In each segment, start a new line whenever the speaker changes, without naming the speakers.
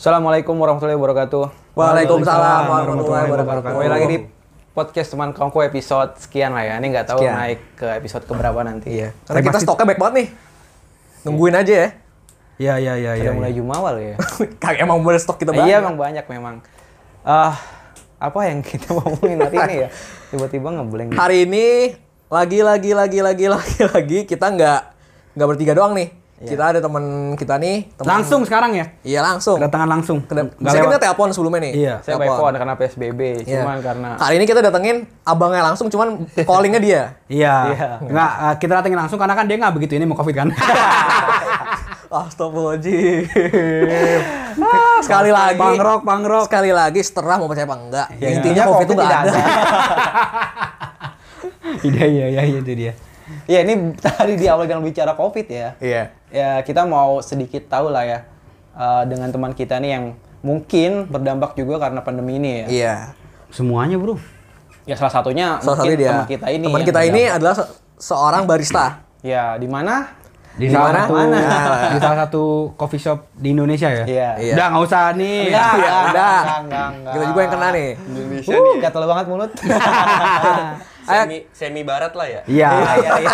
Assalamualaikum warahmatullahi wabarakatuh.
Waalaikumsalam warahmatullahi wabarakatuh.
Kembali lagi di podcast teman kaumku episode sekian lah ya. Ini nggak tahu
Sekian. Iya.
naik ke episode keberapa nanti. ya.
Karena
Tapi
kita
pasti-
stoknya baik banget nih. Nungguin aja ya.
Ya ya ya ya.
Udah mulai
ya.
Jumawal ya.
Kang emang bener stok Iya, kita banget.
iya emang banyak memang. Ah, apa yang kita mau ngomongin hari ini ya? Tiba-tiba ngeblank.
Hari ini lagi lagi lagi lagi lagi lagi kita nggak nggak bertiga doang nih. Kita ada teman kita nih. teman-
Langsung sekarang ya.
Iya langsung.
Kedatangan langsung.
Kedap-
Nggak
Bisa kita
lewat.
telepon sebelumnya nih.
Iya.
Saya by phone karena PSBB,
Iya.
cuman karena
Hari ini kita datengin abangnya langsung, cuman callingnya dia.
Iya.
Iya.
Nggak eh, kita datengin langsung karena kan dia nggak begitu ini mau covid kan.
Astagfirullahaladzim. Ah, Sekali lagi.
Pangrok, pangrok.
Sekali lagi seterah mau percaya apa enggak.
Iya.
Ya,
Intinya COVID itu nggak ada.
Iya iya iya itu dia.
Ya ini tadi di awal dengan bicara COVID ya.
Iya.
Ya kita mau sedikit tahu lah ya eh, dengan teman kita nih yang mungkin berdampak juga karena pandemi ini ya.
Iya.
Semuanya bro.
Ya salah satunya
Salah satu
mungkin
dia.
teman kita ini.
Teman
yang
kita ini
berdampak.
adalah se- seorang barista.
Ya di mana?
Di,
Di mana?
salah satu Iya.
Mana?
di salah satu coffee shop di Indonesia ya.
Iya.
Iya.
Udah nggak usah nih.
Enggak,
Iya,
enggak,
udah.
enggak, enggak, enggak.
Kita juga yang kena nih.
Indonesia
Uh,
nih.
gatel banget mulut.
Ayo.
Semi, semi barat lah ya.
Iya.
Iya, iya, iya.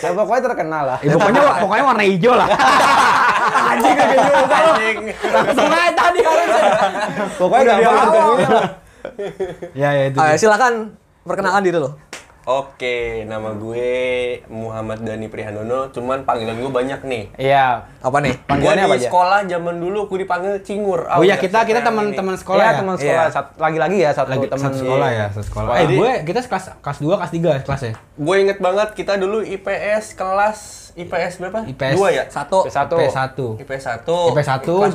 Ya, pokoknya terkenal lah.
Eh, pokoknya pokoknya warna hijau lah.
Anjing kayak gitu.
Anjing.
Langsung aja tadi
Pokoknya
Udah
gampang
bilang.
ketemunya lah.
Iya iya itu.
Ah,
dia.
silakan perkenalkan diri lo.
Oke, nama gue Muhammad Dani Prihanono, cuman panggilan gue banyak nih.
Iya.
Apa nih?
Panggilannya
Gua
apa
di
aja?
sekolah zaman dulu aku dipanggil Cingur.
Oh iya
ya,
kita kita
sekarang
teman-teman
ini.
sekolah
Iya,
ya.
teman sekolah.
Iya.
Sat- lagi lagi ya satu
Lagi
teman
satu sekolah ya, satu sekolah.
Sekolah.
Eh, gue kita kelas kelas 2, kelas 3 kelas ya.
Gue inget banget kita dulu IPS kelas IPS berapa?
IPS.
Dua ya?
Satu.
Satu.
P1.
IPS 1.
IPS 1,
Kelas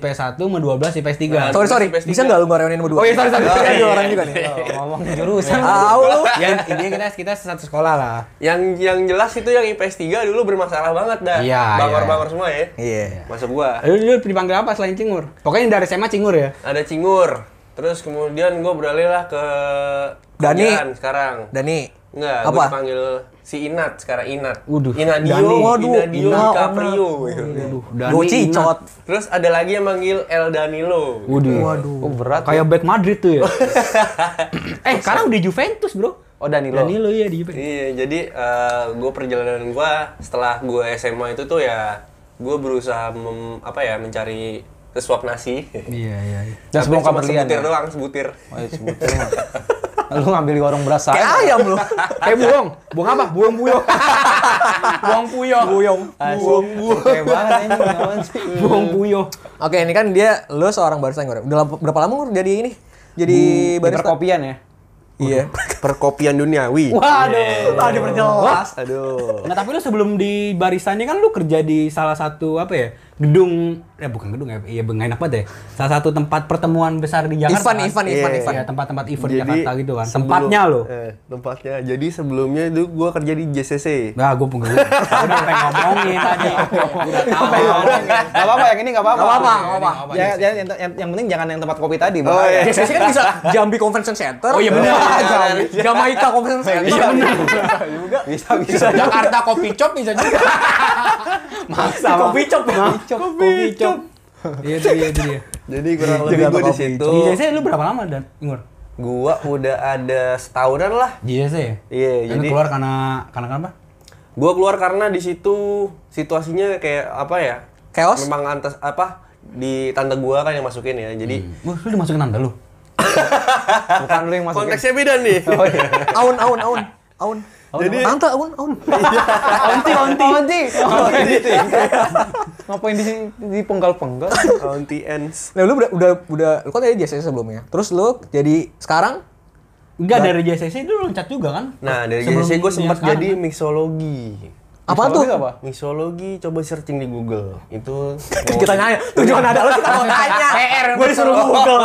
11 IPS 1, sama 12 IPS 3.
Sorry sorry,
Best
bisa
tiga.
nggak lu ngoreonin nomor dua?
Oh iya, sorry, sorry.
Saya dua orang juga nih.
Ngomong jurusan.
Tahu lu.
ya intinya kita kita satu sekolah lah.
Yang yang jelas itu yang IPS 3 dulu bermasalah banget dah.
Iya,
Bangor-bangor semua ya.
Iya.
Masuk gua.
Lu dulu dipanggil apa selain Cingur? Pokoknya dari SMA Cingur ya.
ada Cingur terus kemudian gue beralih lah ke
Dani.
kerjaan sekarang
Dani.
Enggak,
Apa?
gue dipanggil si Inat sekarang Inat
Waduh,
Inadio,
Dani.
Waduh,
Inadio
Ina,
DiCaprio
Waduh,
Gue cicot.
terus ada lagi yang manggil El Danilo
Waduh.
Waduh.
Oh, berat.
Kayak back Madrid tuh ya. eh, sekarang udah Juventus, Bro.
Oh Danilo.
Danilo ya di Juventus.
iya jadi gue perjalanan gue setelah gue SMA itu tuh ya gue berusaha mem- apa ya mencari sesuap nasi
Iya, iya. iya.
Dan
Tapi
sebelum
cuma
keberlian
sebutir
ya?
doang sebutir
Oh, iya, sebutin. Lu ngambil di warung beras
Kayak
saya.
ayam lu.
Kayak buong. Buong apa? Buong puyong. buong puyong. Buong.
Buang buang. Kayak banget ini ngapain sih?
Buong puyong.
Oke, ini kan dia lu seorang barista yang ngoreo. Udah lama- berapa lama lu jadi ini? Jadi
Di
barista?
perkopian ya.
Iya.
perkopian duniawi
Iya.
Waduh.
Ah, diperjelas. Aduh.
Nah tapi lu sebelum di barista ini kan lu kerja di salah satu apa ya gedung ya bukan gedung ya iya nggak enak banget ya salah satu tempat pertemuan besar di Jakarta
Event, event,
kan?
event,
Iya,
event.
iya, tempat-tempat event Jakarta gitu kan tempatnya
sebelum-
lo
eh, tempatnya. Jadi sebelumnya itu gua kerja di JCC.
nah gue pengen udah pengen ngomongin tadi
Iya.
udah tahu
Gak
ya?
ya? apa-apa yang ini gak apa-apa.
Nggak apa-apa, nggak apa-apa.
Ya, ya, yang, yang, yang penting jangan yang tempat kopi tadi.
Oh,
bahaya.
iya.
Biasanya kan bisa Jambi Convention Center.
Oh, iya, bener.
Jambi. Jamaika Convention Center.
Iya, bener.
Bisa, bisa.
Jakarta Coffee Shop bisa juga.
maksa
Coffee Shop.
kopi cop iya itu dia itu dia
Jadi kurang lebih gua di situ.
di JC lu berapa lama dan Ingur
Gua udah ada setahunan lah.
di JC ya Lu
Iya, jadi-
keluar karena karena kenapa
Gua keluar karena di situ situasinya kayak apa ya?
Chaos?
Memang antas apa di tante gua kan yang masukin ya. Jadi
Wah, lu dimasukin tante lu
Bukan lu yang masuk.
konteksnya beda nih.
Oh iya.
Aun, aun, aun. Aun.
Jadi-
Tante, aun, aun.
Iya.
Onti, onti. Onti. Ngapain di sini di penggal-penggal?
Auntie Ends.
Nah, lu udah, udah, udah, lu kan tadi JCC sebelumnya. Terus lu jadi sekarang
Enggak dari JCC dulu loncat juga kan?
Nah, dari
Sebelum
JCC gua
yang
sempat
sekarang. kan?
jadi mixologi.
apa tuh?
Mixologi apa?
Mixologi coba searching di Google. Itu
Kita nanya,
Iya.
tujuan ada lu kita mau tanya. Gue disuruh Google.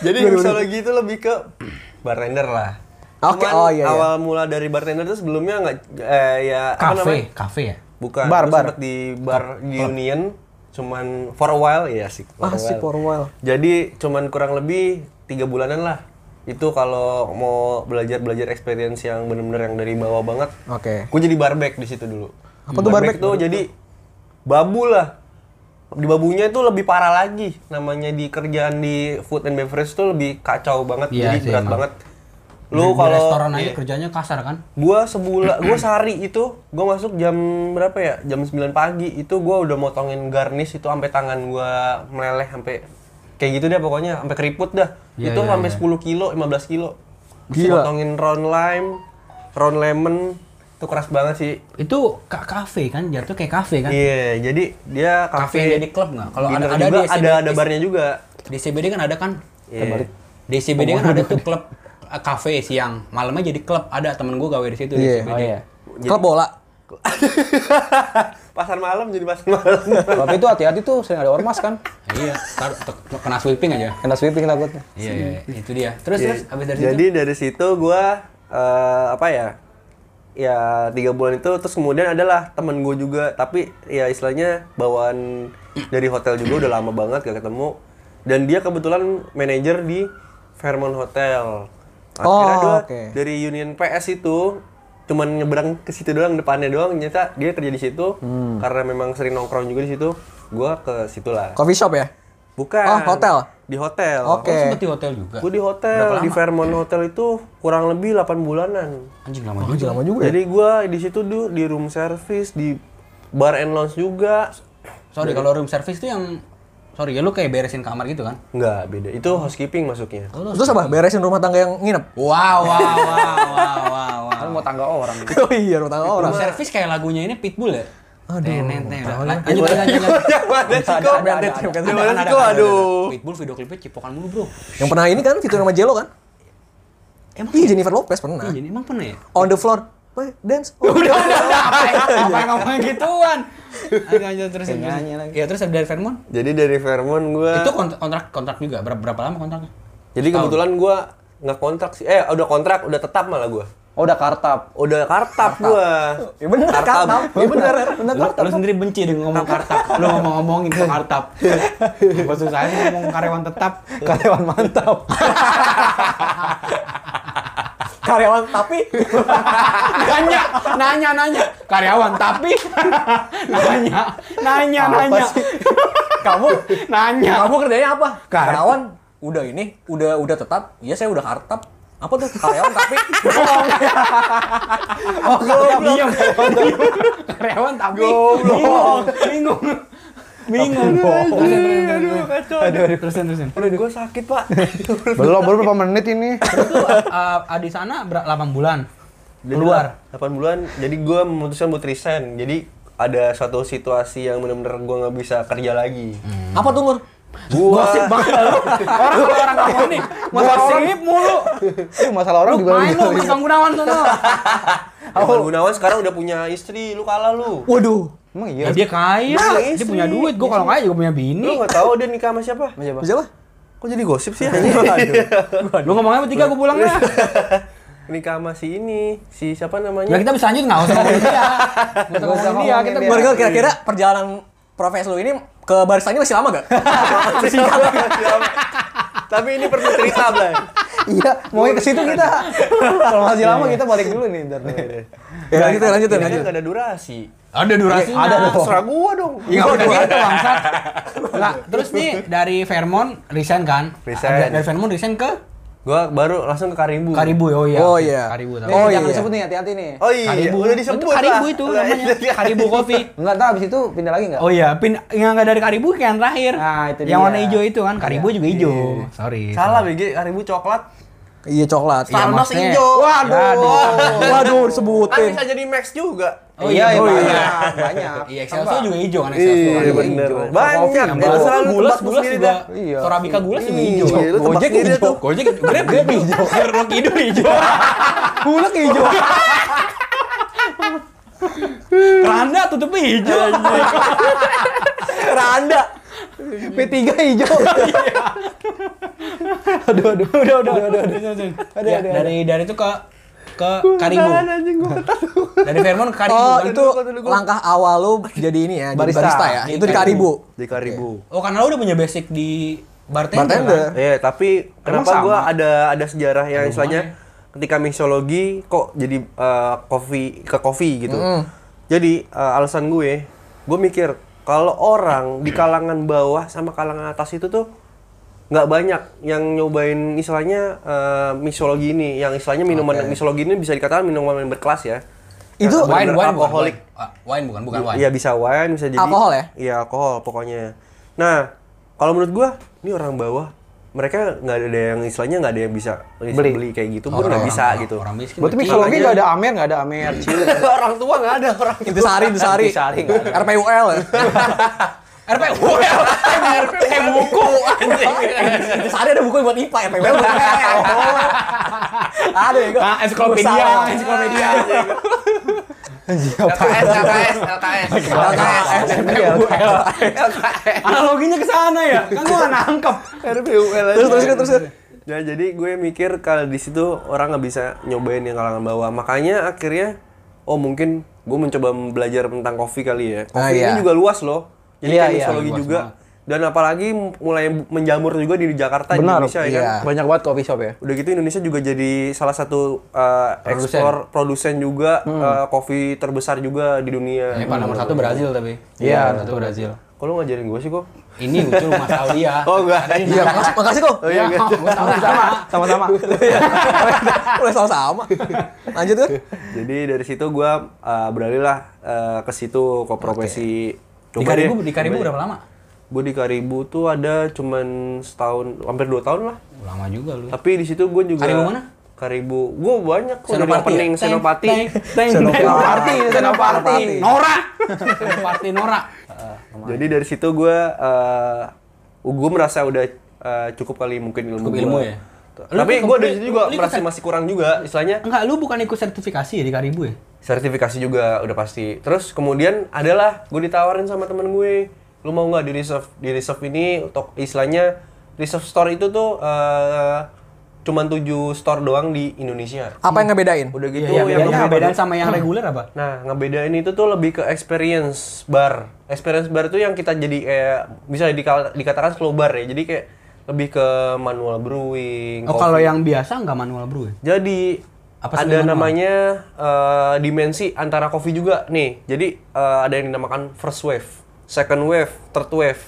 Jadi mixologi itu lebih ke bartender lah.
Oke,
Cuman
oh iya, iya.
Awal mula dari bartender itu sebelumnya nggak eh, ya
Kafe,
apa namanya?
kafe ya?
Bukan.
Bar,
gua
bar.
sempet di bar di Union cuman for a while ya sih.
Asik Ah, for a while.
Jadi cuman kurang lebih tiga bulanan lah. Itu kalau mau belajar-belajar experience yang bener-bener yang dari bawah banget.
Oke.
Gue jadi barback di situ dulu.
Apa tuh barback?
tuh jadi babu lah. di babunya itu lebih parah lagi namanya di kerjaan di food and beverage tuh lebih kacau banget
Iya
jadi
sih,
berat
emang.
banget
Di-
lu
di
kalau
restoran aja
iya.
kerjanya kasar kan?
gua sebulan gua sehari itu gua masuk jam berapa ya jam 9 pagi itu gua udah motongin garnish itu sampai tangan gua meleleh sampai kayak gitu deh pokoknya sampai keriput dah
Iya,
itu
iya,
sampai
iya.
10 kilo 15 kilo
Gila.
motongin round lime round lemon itu keras banget sih
Itu ka- kafe kan, jatuh kayak kafe kan?
iya jadi dia
Kafe
kafe
yang jadi klub nggak? Kalau ada
dinner
ada
juga,
di SCBD
ada ada barnya juga
Di CBD kan ada kan?
Iya.
Terbalik. Di CBD kan ada tuh klub eh, kafe siang, malamnya jadi klub. Ada temen gue gawe di situ di
Iya.
Oh
CBD.
iya.
Klub bola.
pasar malam jadi pasar malam
Tapi itu hati-hati tuh sering ada ormas kan.
Iya, ntar te- te- kena sweeping aja.
Kena sweeping takutnya.
Iya, iya, iya. itu dia. Terus
Iya.
terus abis dari
jadi
situ.
dari situ gue apa ya ya tiga bulan itu terus kemudian adalah temen gue juga tapi ya istilahnya bawaan dari hotel juga udah lama banget gak ketemu dan dia kebetulan manajer di Fairmont Hotel akhirnya
Oh,
gua
oke.
dari Union PS itu cuman nyebrang ke situ doang depannya doang ternyata dia kerja di situ
Hmm.
karena memang sering nongkrong juga di situ gue ke situ lah
Coffee shop ya?
bukan
Oh, hotel?
di hotel
Oke.
Oh, sempet di hotel juga.
Gue di hotel, di Fairmont Hotel itu kurang lebih 8 bulanan.
Anjing Oh, lama
Anjir,
juga.
lama juga ya.
Jadi gue di situ du, di room service, di bar and lounge juga.
Sorry, kalau room service tuh yang sorry ya lu kayak beresin kamar gitu kan?
Nggak beda, itu housekeeping masuknya.
Terus apa? Beresin rumah tangga yang nginep?
Wow, wow, wow, wow, wow, wow.
Kan mau tangga orang.
Oh iya, rumah tangga orang.
Room service kayak lagunya ini Pitbull ya?
Aduh, ya.
Tenet, tenet, udah. Lan- Lanjut, lanjut, lanjut.
Yang mana sih
Ada,
kok?
ada, ada, ada.
Yang mana sih
Ada,
kok?
ada, ada,
Aduh.
ada. Pitbull video klipnya cipokan mulu bro.
Yang pernah ini kan fitur sama Jello kan?
Emang
Iya, Jennifer Lopez pernah.
Iya, emang pernah ya?
On the floor. Boy, dance. Oh,
Udah, udah, udah. Apa yang- apa yang ngomongin gituan? Ayo, lanjut, terus.
Kayak
terus.
nyanyi lagi.
Ya, terus dari Fairmont?
Jadi dari Fairmont gue...
Eh. Itu kont- kontrak kontrak juga. Berapa, berapa lama kontraknya?
Jadi kebetulan gue nggak kontrak sih. Eh, udah kontrak, udah tetap malah gue.
Oh udah kartap.
Udah kartap gue.
Ya bener,
Kartab.
kartab. Ya bener, bener
Lu,
kartab.
lu sendiri benci dengan ngomong kartap. Lu ngomong ngomongin ke kartap. Apa susahnya ngomong karyawan tetap?
Karyawan mantap.
Karyawan, tapi
Nanya, nanya, nanya. Karyawan tapi nanya, nanya, nanya.
kamu,
Nanya.
kamu kerjanya apa?
Kartab.
Karyawan, udah ini, udah udah tetap. Iya, saya udah kartab. Apa tuh? Karyawan, tapi bohong.
Oh, karyawan diam. Karyawan tapi bingung, bingung. Bingung. Aduh, kacau. Aduh, aduh, terusin, terusin.
gue sakit, Pak.
belum baru berapa menit ini?
Itu uh, di sana ber- 8 bulan.
Jadi
Keluar.
8 bulan, jadi gue memutuskan buat resign. Jadi ada suatu situasi yang benar-benar gue nggak bisa kerja lagi.
Apa tuh, Nur?
Gua
banget lu. Orang orang kamu nih, gosip mulu.
Ini masalah orang
Lu main lu
dibalik.
sama Bang Gunawan sono. Oh.
Irfan Gunawan sekarang udah punya istri, lu kalah lu.
Waduh.
Emang iya.
Ya, dia kaya,
Dia
dia
istri.
punya duit. Gua kalau kaya juga punya
Lu
bini.
nggak tahu dia nikah sama siapa?
Sama siapa?
Siapa?
Kok jadi gosip sih?
Iya. Lu ngomongnya bertiga gua pulang ya. lah.
nikah sama si ini, si siapa
Ya
namanya?
kita bisa lanjut nggak usah ngomongin dia. Nggak usah ngomongin dia, kita
Iya.
Margo, kira-kira perjalanan profes lu ini ke barisannya masih lama gak?
Tapi ini perlu cerita, Blay.
Iya, mau ke situ kita. Kalau masih lama
Iya.
kita balik dulu nih ntar nih.
ya, lanjutin, lanjutin,
Ini
lanjutin.
Eh, nggak ada durasi.
Ada durasinya.
Ada dong.
Terserah gua dong.
Iya udah gitu bangsat. Nah, terus nih dari Fairmont resign kan?
Resign.
Dari- Dari Fairmont resign ke
Gua baru langsung ke Karibu.
Karibu oh iya.
Oh, iya.
Karibu tapi.
Oh,
Oh,
jangan
iya.
disebut nih, hati-hati nih.
Oh iya,
Karibu.
udah disebut
itu
lah. Iya,
Karibu itu namanya. Karibu Coffee.
iya. Enggak tahu abis itu pindah lagi enggak?
Oh iya, pin yang nggak dari Karibu yang terakhir.
Nah, itu
Yang
dia.
warna hijau itu kan, Karibu juga hijau. Sorry.
Iya. Salah BG, Karibu coklat. Kan
Iya, coklat.
Iya,
Starbucks
maksudnya.
hijau.
Waduh.
Waduh,
Kan
disebutin.
bisa jadi Max juga.
Oh iya,
Oh,
banyak,
iya.
banyak.
Iya,
Tambah.
Excelsior juga hijau kan Excelsior.
Iya, bener.
hijau.
Banyak.
Yang
Iya,
Itu
baru.
selalu
gulas
tebak
gulas
sendiri
juga.
dah.
Iya.
Sorabika gulas juga hijau.
Iya, lu tebak
Gojek
sendiri
hijau.
tuh.
Gojek Grab hijau. Grab hijau hijau.
Hulek hijau.
Keranda tutupnya hijau.
Randa.
P3 hijau.
Oh, iya. aduh aduh udah udah udah udah Ya, dari dari itu ke ke Karibu. Dari Fairmont ke Karibu.
Oh,
kan?
itu langkah awal lu jadi ini ya, jadi
Barista.
barista ya.
Di
Itu di Karibu.
Di Karibu.
Oh, karena lu udah punya basic di bartender.
Bartender.
kan?
Iya, tapi kenapa
sama?
gua ada ada sejarah yang
Ada
istilahnya ketika mixologi kok jadi eh, kopi ke kopi gitu. Jadi eh, alasan gue, gue mikir kalau orang di kalangan bawah sama kalangan atas itu tuh nggak banyak yang nyobain istilahnya eh, mixologi ini, yang istilahnya minuman mixologi ini bisa dikatakan minuman berkelas ya.
Itu
wine,
Yang benar-benar
wine, bukan
alkoholik.
wine. Ah, wine bukan, bukan wine.
Iya bisa wine, bisa jadi
Alkohol ya?
Iya alkohol pokoknya. Nah kalau menurut gua ini orang bawah mereka nggak ada yang istilahnya nggak ada yang bisa beli, kayak gitu pun nggak
Oh,
bisa
orang-
gitu.
Orang miskin.
Berarti
betul.
mixologi nggak ada Amer, nggak ada Amer, Cil.
orang tua nggak ada orang.
Intisari, Intisari.
Intisari nggak ada.
RPUL. ya?
RP, well, eh buku anjing.
Intisari ada buku buat IPA, RPUL buat Oh. Ada ya gua.
Ah, ensiklopedia,
Salah.
ensiklopedia.
LKS, LKS, LKS.
Iya,
LKS, RPUL.
Analoginya ke sana ya. Kan gua nggak nangkep.
RPUL aja.
Terus, terus, terus, terus.
Nah, jadi gue mikir kalau di situ orang nggak bisa nyobain yang kalangan bawah. Makanya akhirnya oh mungkin gue mencoba belajar tentang kopi kali ya.
Ah,
Kopi
iya.
ini juga luas loh. Jadi
Iya,
kan
iya.
mixologi juga. Dan apalagi mulai menjamur juga di Jakarta di
Benar.
Indonesia ya kan.
iya.
Banyak banget coffee shop ya.
Udah gitu Indonesia juga jadi salah satu uh, ekspor produsen juga
Hmm.
uh, kopi terbesar juga di dunia.
Iya,
Ini Pak, nomor satu Brazil tapi.
Iya, satu Brazil.
Kalau lu ngajarin gue sih kok.
Ini lucu Mas Aulia.
Oh enggak.
Iya, makasih, makasih kok.
Ya,
Oh iya enggak.
Sama-sama, sama-sama.
Udah sama-sama. Lanjut kan?
Jadi dari situ gua uh, beralihlah uh, ke situ ke profesi.
Di
Coba
Karibu,
deh.
di Karibu berapa lama?
Gua di Karibu tuh ada cuman setahun, hampir dua tahun lah.
Lama juga lu.
Tapi di situ gua juga.
Karibu mana? ya?
Karibu. Gua banyak kok dari
Senopati
opening Senopati.
Teng,
Senopati, Senopati.
Nora. Senopati Nora.
Jadi dari situ gua eh gua merasa udah eh, cukup kali mungkin ilmu.
Cukup
gua.
ilmu ya? Lu
Tapi
ikut-
gua dari
lu-
situ juga
lu ikut kan?
merasa
ser-
masih kurang juga istilahnya
Enggak, lu bukan ikut sertifikasi ya di Karibu ya?
sertifikasi juga udah pasti terus kemudian adalah gue ditawarin sama temen gue lu mau nggak di reserve di reserve ini untuk istilahnya reserve store itu tuh eh, cuman tujuh store doang di Indonesia
Apa yang ngebedain?
udah gitu
Iya,
yang
bedanya
ngebedain-
bedaan sama yang reguler apa?
nah ngebedain itu tuh lebih ke experience bar experience bar tuh yang kita jadi kayak bisa dikal- dikatakan slow bar ya jadi kayak lebih ke manual brewing
Oh,
kopi.
kalau yang biasa nggak manual brew ya?
Jadi
Apa
ada
seniman, Bang?
namanya eh, dimensi antara kopi juga nih. Jadi eh, ada yang dinamakan first wave, second wave, third wave.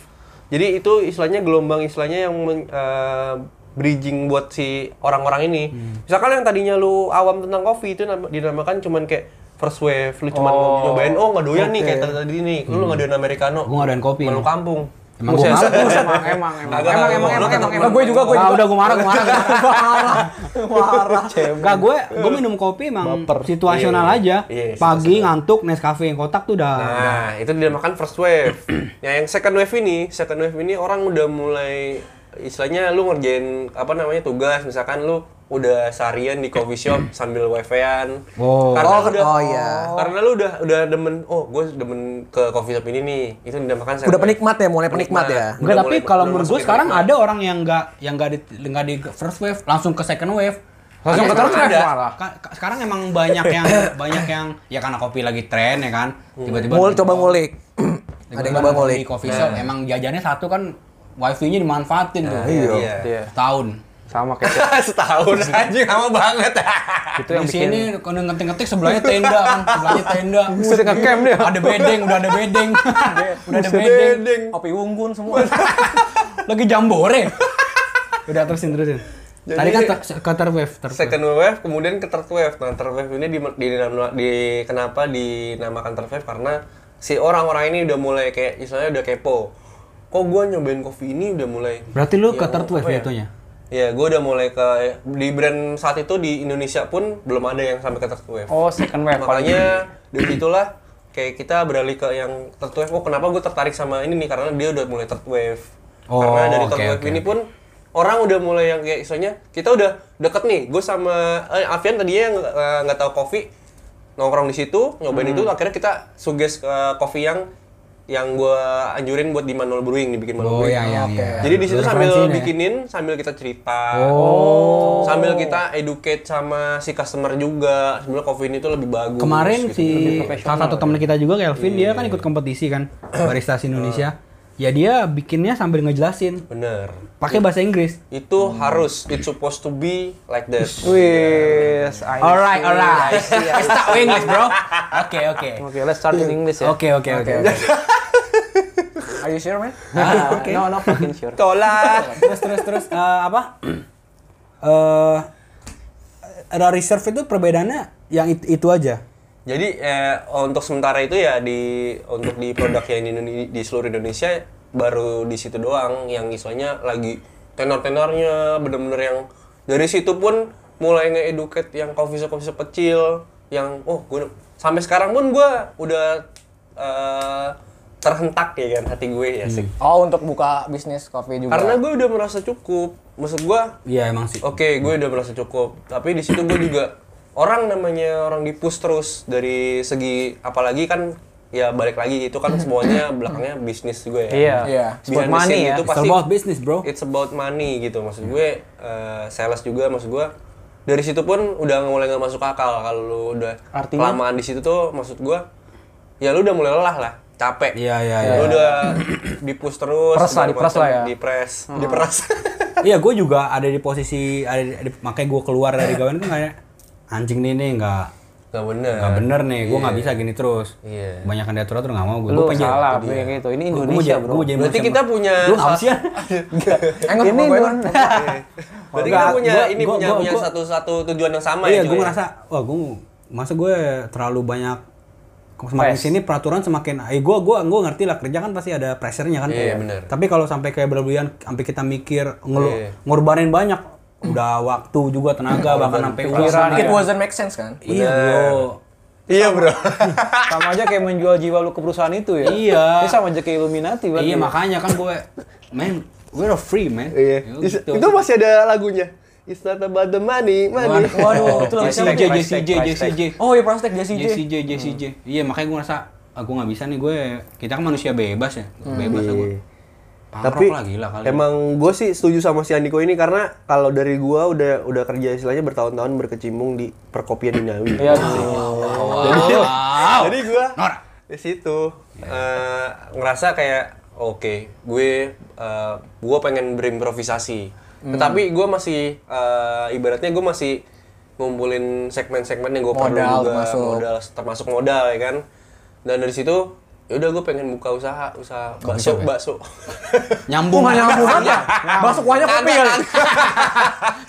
Jadi itu istilahnya gelombang istilahnya yang men- eh, bridging buat si orang-orang ini.
Hmm.
Misalkan yang tadinya lu awam tentang kopi itu nam- dinamakan cuman kayak first wave, lu cuman mau nyobain oh nggak doyan nih kayak tadi- tadi nih, lu nggak doyan americano.
Gua nggak doyan Hmm. kopi.
Malu kampung.
Emang gua
Buset.
malu.
Emang, emang, emang.
Agak-
Emang, emang,
lu
emang,
tetap
emang,
malu.
emang. Gue juga, gue
Ah,
juga.
udah gue marah, gue marah.
Parah. Parah.
Enggak, gue gue minum kopi emang situasional
Iya,
aja.
iya,
Pagi ngantuk, Nescafe yang kotak tuh udah
Nah, itu dinamakan first wave. nah, yang second wave ini, second wave ini orang udah mulai istilahnya lu ngerjain apa namanya tugas, misalkan lu udah seharian di coffee shop sambil wifi-an.
Oh.
Karena
Oh,
lu udah,
oh, iya.
Karena lu udah udah demen, oh, gue demen ke coffee shop ini nih. Itu dinamakan second
Udah
wave.
penikmat ya, mulai penikmat ya.
Udah
Enggak, tapi
mulai-
kalau
udah
menurut
masuk
gue
ke
sekarang
penikmat.
ada orang yang nggak yang nggak di nggak di first wave langsung ke second wave.
Langsung ke third wave
Ada.
malah.
Ka- ka- Sekarang emang banyak yang banyak yang ya karena kopi lagi tren ya kan. Tiba-tiba
Mul coba ngulik. Ada yang coba ngulik.
Di coffee shop
Iya.
emang jajannya satu kan wifi-nya dimanfaatin tuh.
iya.
Iya.
Tahun.
Sama kayak
setahun anjing sama banget.
itu yang
Di
bikin.
sini kalau ngetik-ngetik sebelahnya tenda kan, sebelahnya tenda.
Buset, nge-camp dia.
Ada bedeng, udah ada bedeng. udah ada bedeng.
Sedeng.
Kopi unggun semua.
Lagi jambore.
Udah terusin terusin.
Jadi-
Tadi kan ter- ke third wave, third wave.
Second wave, kemudian ke third wave. Nah, third wave ini di, di- di- kenapa dinamakan third wave? Karena si orang-orang ini udah mulai kayak istilahnya udah kepo. Kok gua nyobain kopi ini udah mulai.
Berarti lu ke
yang
third wave
apa
ya itunya?
Iya, gua udah mulai ke di brand saat itu di Indonesia pun belum ada yang sampai ke third wave.
Oh, second wave.
Makanya dari situlah kayak kita beralih ke yang third wave. Oh, kenapa gue tertarik sama ini nih? Karena dia udah mulai third wave.
Oh,
Karena dari third
oke,
wave
oke.
ini pun orang udah mulai yang kayak istilahnya kita udah deket nih. Gue sama eh, Alfian tadinya yang eh, nggak tahu kopi nongkrong di situ, nyobain
Hmm.
itu akhirnya kita suges ke kopi yang yang gue anjurin buat di manual brewing dibikin manual
Oh
brewing.
iya iya iya.
Jadi di situ
Lu
sambil
referensiin ya.
bikinin, sambil kita cerita.
Oh.
Sambil kita educate sama si customer juga. Sebenarnya kopi ini tuh lebih bagus.
Kemarin
gitu.
si salah satu teman kita juga Kelvin dia
Iya.
kan ikut kompetisi kan barista si Indonesia. Ya dia bikinnya sambil ngejelasin
Bener.
pakai bahasa Inggris.
Itu harus. It's supposed to be like that.
Wis, I
Alright,
see,
alright.
I see, I
Let's
see.
start with English, bro. Oke, oke.
Ya. Oke, let's start in English ya.
Oke, oke, oke.
Are you sure, man?
No, no fucking sure.
Tolak.
terus terus terus eh, apa eh Rare reserve itu perbedaannya yang it- itu aja
Jadi eh, untuk sementara itu ya di untuk di produk yang di, Indone- di seluruh Indonesia baru di situ doang yang istilahnya lagi tenor-tenornya bener-bener yang dari situ pun mulai nge-educate yang coffee shop coffee shop kecil yang oh gue sampai sekarang pun gue udah eh, terhentak ya kan hati gue ya sih.
Oh, untuk buka bisnis kopi juga.
Karena gue udah merasa cukup. Maksud gue
iya emang sih
Oh,
Oke, gue udah merasa cukup. Tapi di situ gue juga orang namanya orang di push terus dari segi apalagi kan ya balik lagi itu kan semuanya belakangnya bisnis gue ya.
Iya.
Iya.
Sport
Behind the
money
scene
ya.
Itu
it's
pasti
about business bro Iya.
it's about money gitu maksud gue. eh, sales juga maksud gue. Dari situ pun udah mulai nggak masuk akal kalau lu udah
Artinya?
kelamaan di situ tuh maksud gue ya lu udah mulai lelah lah capek
Iya, iya,
Lu udah di push terus
Pres lah,
segala
diperas lah
macam,
ya.
diperas
Hmm.
diperas
iya gue juga ada di posisi ada di- di- makanya gue keluar dari gawean tuh kayak anjing nih nih nggak
nggak bener
nggak bener nih gue nggak bisa gini terus
Iya.
banyak yang diatur atur nggak mau gue
Lu salah, kayak gitu. Ini Indonesia, bro.
Berarti kita punya
lu apa sih ya?
Enggak, ini gue kan.
Berarti
Nggak,
kita punya
gua-
ini
gua-
punya
gua-
punya
gua-
satu-satu tujuan yang sama
iya
ya.
gue
cuy?
ngerasa wah gue masa gue terlalu banyak semakin sini peraturan semakin eh gue gua gua ngerti lah kerja kan pasti ada pressure-nya kan
Iya, bener.
tapi kalau sampai kayak berlebihan sampai kita mikir ngelu
Iya.
ngorbanin banyak udah waktu juga tenaga bahkan sampai
pikiran.
uang.
ya.
It wasn't make sense kan?
iya bro
Iya, Bro.
Sama aja kayak menjual jiwa lu ke perusahaan itu ya.
Iya.
Ini sama aja kayak Illuminati berarti. ya?
Iya makanya kan gue, man, we're free man. Ya, gitu.
masih ada lagunya. It's not about the money, money.
Waduh, itu lagi
JCJ,
siapa?
JCJ, JCJ.
Oh, ya Prostek JCJ.
JCJ, JCJ. Iya makanya gue ngerasa, aku nggak bisa nih gue, kita kan manusia bebas ya, bebas lah gue.
Iya. Tapi
Pangrok lah gila kali.
emang gue sih setuju sama si Andiko ini karena kalau dari gue udah udah kerja istilahnya bertahun-tahun berkecimpung di perkopian duniawi.
Iya.
Oh,
Jadi, jadi gue di situ eh, ngerasa kayak oke, gue eh, gue pengen berimprovisasi.
Hmm.
Tetapi gue masih eh, ibaratnya gue masih ngumpulin segmen-segmen yang gue perlu
Modal
juga
termasuk.
modal termasuk modal ya kan. Dan dari situ ya udah gue pengen buka usaha usaha bakso
ya?
bakso.
Nyambung. Iya,
nyambung apa? Masuk banyak kopi kali.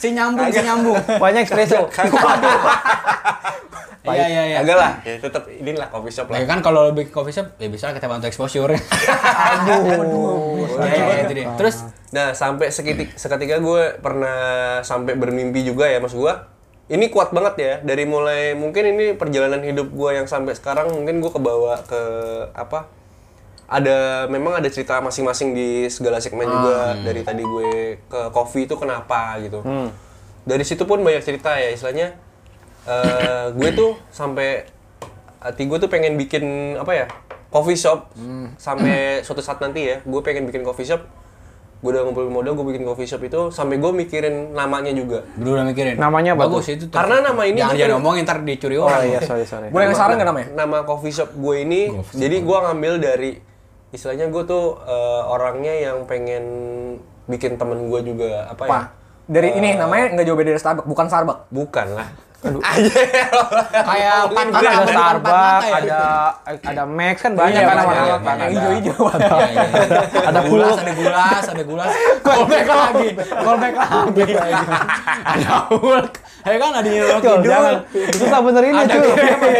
si nyambung, si nyambung.
Banyak espresso.
kan
Iya, iya, iya.
Agak lah, ya tetap inilah coffee shop
Ya
lah.
kan kalau lebih ke coffee shop, ya bisa lah kita bantu exposure.
Oh,
Aduh.
Iya, iya, itu dia. Terus
Nah, sampai seketika, seketika gue pernah sampai bermimpi juga ya, Mas gue. Ini kuat banget ya, dari mulai mungkin ini perjalanan hidup gue yang sampai sekarang mungkin gue kebawa ke apa? Ada memang ada cerita masing-masing di segala segmen juga dari tadi gue ke coffee itu kenapa gitu. Dari situ pun banyak cerita ya, istilahnya eh, gue tuh sampai hati gue tuh pengen bikin apa ya? coffee shop sampai suatu saat nanti ya, gue pengen bikin coffee shop gue udah ngumpulin modal gue bikin coffee shop itu sampai gue mikirin namanya juga
dulu udah mikirin.
Namanya apa
Bagus itu. tuh.
Karena nama ini
jangan
kan- juga-
jangan ngomongin ntar dicuri
Oh
orang.
iya, sorry, sorry.
Boleh saran nggak namanya?
nama coffee shop gue ini jadi gue ngambil dari istilahnya gue tuh eh, orangnya yang pengen bikin temen gue juga apa,
Apa?
ya
Dari ini namanya nggak jauh beda dari Starbucks, bukan Starbucks.
bukan lah Aduh.
Kayak pan
Kan ada
pan-
Starbucks,
pan- pan-
ada ada Max kan banyak
Iya,
kan
iya,
nama-nama
iya,
kan.
yang
Ada-
hijau-hijau.
Iya, iya, iya. ada gulas, ada gulas, ada gulas. Callback lagi, callback lagi. Ada Hulk, ya kan ada Nyirokin
Cul,
dulu.
jangan. Susah bener ini,
Ada
cuy.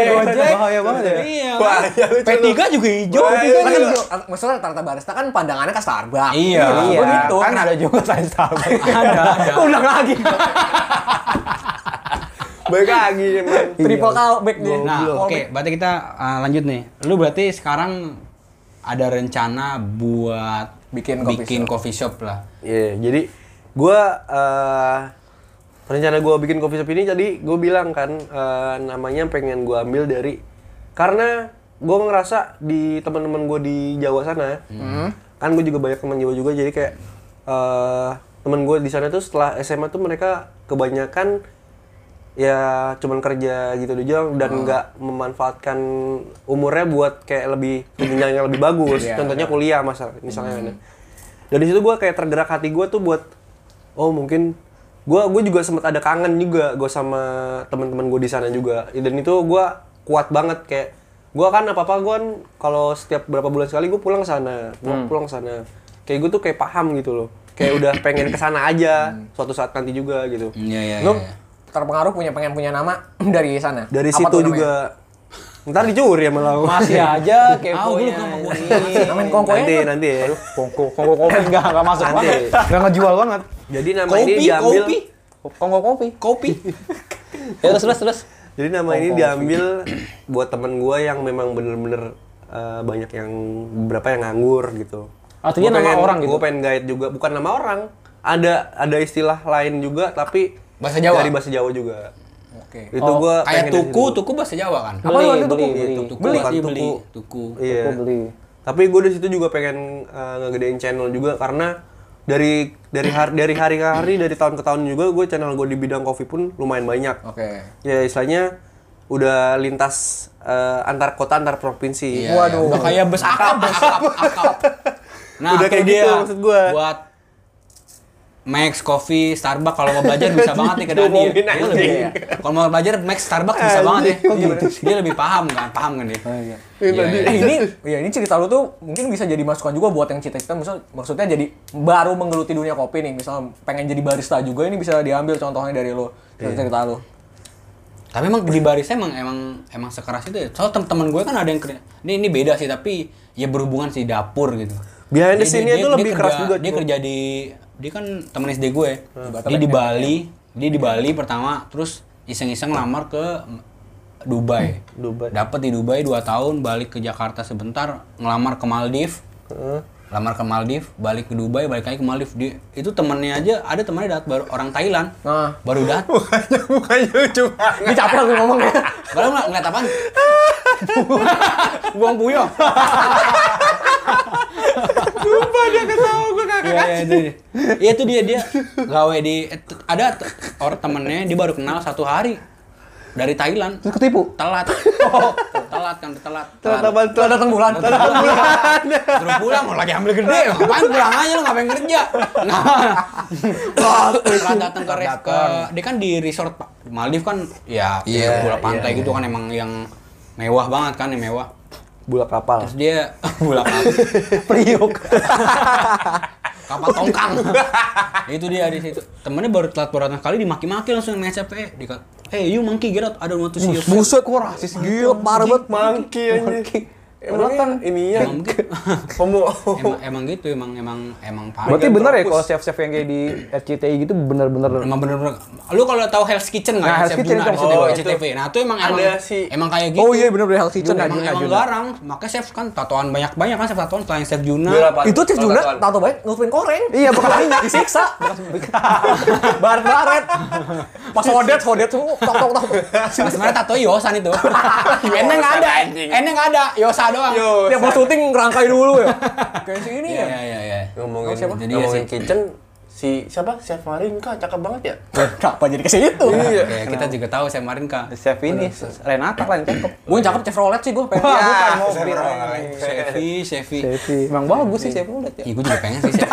Gojek.
Bahaya banget ya.
Iya.
Wah,
kan?
iya, lucu
P3 juga hijau.
Wah,
P3
Kan
juga.
itu, maksudnya rata-rata barista kan pandangannya ke Starbucks.
Iya.
Iya,
maksud gua gitu.
kan ada juga saya Starbucks.
Ada, ada.
Ulang lagi.
balik lagi emang
Triple callback dia.
Nah, oke,
Callback.
berarti kita uh, lanjut nih. Lu berarti sekarang ada rencana buat
Bikin coffee shop.
coffee shop lah.
Iya, jadi gue rencana gue bikin coffee shop ini jadi gue bilang kan eh, namanya pengen gue ambil dari karena gue ngerasa di teman-teman gue di Jawa sana kan gue juga banyak teman Jawa juga jadi kayak eh teman gue di sana tuh setelah SMA tuh mereka kebanyakan ya cuman kerja gitu aja dan nggak memanfaatkan umurnya buat kayak lebih jenjang yang lebih bagus contohnya kuliah masalah misalnya kan ya. dari situ gue kayak tergerak hati gue tuh buat oh mungkin gue gue juga sempat ada kangen juga gue sama teman-teman gue di sana juga dan itu gue kuat banget kayak Gua kan apa-apa gua kan kalau setiap berapa bulan sekali gua pulang sana, gua pulang sana. Kayak gua tuh kayak paham gitu loh. Kayak udah pengen ke sana aja suatu saat nanti juga gitu.
Iya, iya,
Lu
iya.
terpengaruh punya pengen punya nama dari sana.
Dari
Apa
situ
tuh namanya?
juga ntar dicuri sama lo.
Masih aja
Tahu gue
keponya.
sama gue.
Namain kongkoy
Nanti nanti ya.
Kongko, kongko kopi enggak enggak masuk
Nanti.
banget. Enggak ngejual banget.
Jadi nama ini
Kopi,
diambil
kopi. Kongko kopi. Kopi. ya terus terus terus.
Jadi nama ini diambil buat temen gua yang memang bener-bener eh, banyak yang beberapa yang nganggur gitu.
Artinya nama orang gitu?
Gue pengen guide juga, bukan nama orang. Ada ada istilah lain juga tapi
Bahasa Jawa?
Dari bahasa Jawa juga.
Oke.
Itu gua
Kayak
pengen dari
tuku,
situ.
tuku bahasa Jawa kan?
Apa lu waktu itu
beli,
tuku?
beli,
Beli.
tuku,
Beli.
pasti
Bukan
beli,
tuku.
tuku.
Iya.
Aku beli.
Tapi gue di situ juga pengen eh, ngegedein channel juga karena dari dari hari dari hari ke hari dari tahun ke tahun juga gue channel gue di bidang kopi pun lumayan banyak.
Oke.
Ya istilahnya udah lintas eh, antar kota antar
Iya,
provinsi.
Waduh.
iya. Udah kayak bes akap, bes akap, akap. Nah,
Udah
itu
kayak gitu maksud gua.
Buat Max Coffee, Starbucks kalau mau belajar bisa banget nih ke Dani. ya.
Ngomongin
Dia
anjing.
lebih iya. kalau mau belajar Max Starbucks bisa banget ya. Dia lebih paham kan, paham kan dia.
iya.
Iya, iya.
Eh, ini ya ini cerita lu tuh mungkin bisa jadi masukan juga buat yang cita-cita misal maksudnya jadi baru menggeluti dunia kopi nih misal pengen jadi barista juga ini bisa diambil contohnya dari lu cerita, cerita lu
Tapi emang di barisnya emang emang emang sekeras itu ya. Soalnya teman-teman gue kan ada yang kerja. Ini ini beda sih tapi ya berhubungan sih di dapur gitu.
Behind
Dia-
the scene-nya
dia-
tuh
dia
lebih
kerja-
keras juga,
Dia
Cuk. Hmm.
kerja di dia kan temen SD gue. Dia di Bali, dia di Bali pertama terus iseng-iseng lamar ke Dubai.
Dubai.
Dapat di Dubai 2 tahun, balik ke Jakarta sebentar, ngelamar ke Maldives.
Hmm.
Lamar ke Maldives, balik ke Dubai, balik lagi ke Maldives. Dia- itu temennya aja, ada temennya dat baru orang Thailand.
Nah.
Ah.
Baru dat.
ini capek aku ngomong ya
Baru ngeliat, ngeliat apaan? Buang puyong. Lupa dia ketawa gue kakak Iya itu dia. Iya itu dia dia gawe di eh, t- ada t- orang temennya dia baru kenal satu hari dari Thailand.
Terus ketipu.
Telat. telat kan telat.
Telat apaan?
telah datang bulan
Terus pulang mau lagi ambil gede, ngapain pulang aja lu ngapain kerja? Nah, setelah datang ke, res- ke dia kan di resort Pak. Maldives kan ya
Iya,
bola
iya,
pantai gitu kan emang yang mewah banget kan yang mewah.
Bulak kapal.
Terus dia bola pantai,
Priuk.
kapal tongkang. Itu dia di situ. Temennya baru telat berapa kali dimaki-maki langsung yang ngecap eh dikat Hey you monkey get out, I don't want to see you.
buset kok rasis gila parah banget
Mangki
Mangki.
anjing. Emang kan ininya
Emang gitu.
homo.
emang, emang gitu, emang emang emang parah.
Berarti
Agak
bener ya
terhapus.
kalau chef-chef yang kayak di RCTI gitu bener-bener
Emang bener-bener. Lu kalau tahu Hell's Kitchen nggak?
Nah, Hell's
Chef
Kitchen
Juna
itu
di
maksudnya. Oh,
situ, SCTV. Nah, itu emang emang,
Ada si-
emang kayak gitu.
oh iya bener dari health kitchen
emang,
anjing.
emang garang. Makanya Chef kan tatoan banyak banyak kan Chef tatoan selain Chef Juna.
itu Chief Juna tato banyak nutupin koreng
Iya, bekas minyak.
disiksa baret-baret pas hodet hodet tuh tok tok tok
Nah, sebenarnya tato Yosan itu. Eneng nggak ada. Eneng nggak ada. Yosa doang.
tiap mau syuting ngerangkai dulu ya kayak si ini
Iya
ya
iya iya. iya.
Ngomongin,
Siapa? Jadi ya
ngomongin
sih.
kitchen, si siapa? Chef Marinka, cakep banget ya?
Kenapa jadi ke situ?
Iya, kita juga tahu saya kemarin kak.
chef ini Renata lah yang cakep.
Gue yang cakep Chevrolet sih gue pengen.
Wah, bukan mau
Chef Marinka.
Chefy, Chefy.
Chefy. Emang bagus sih chef udah ya.
Iya, gue juga pengen sih. Chef.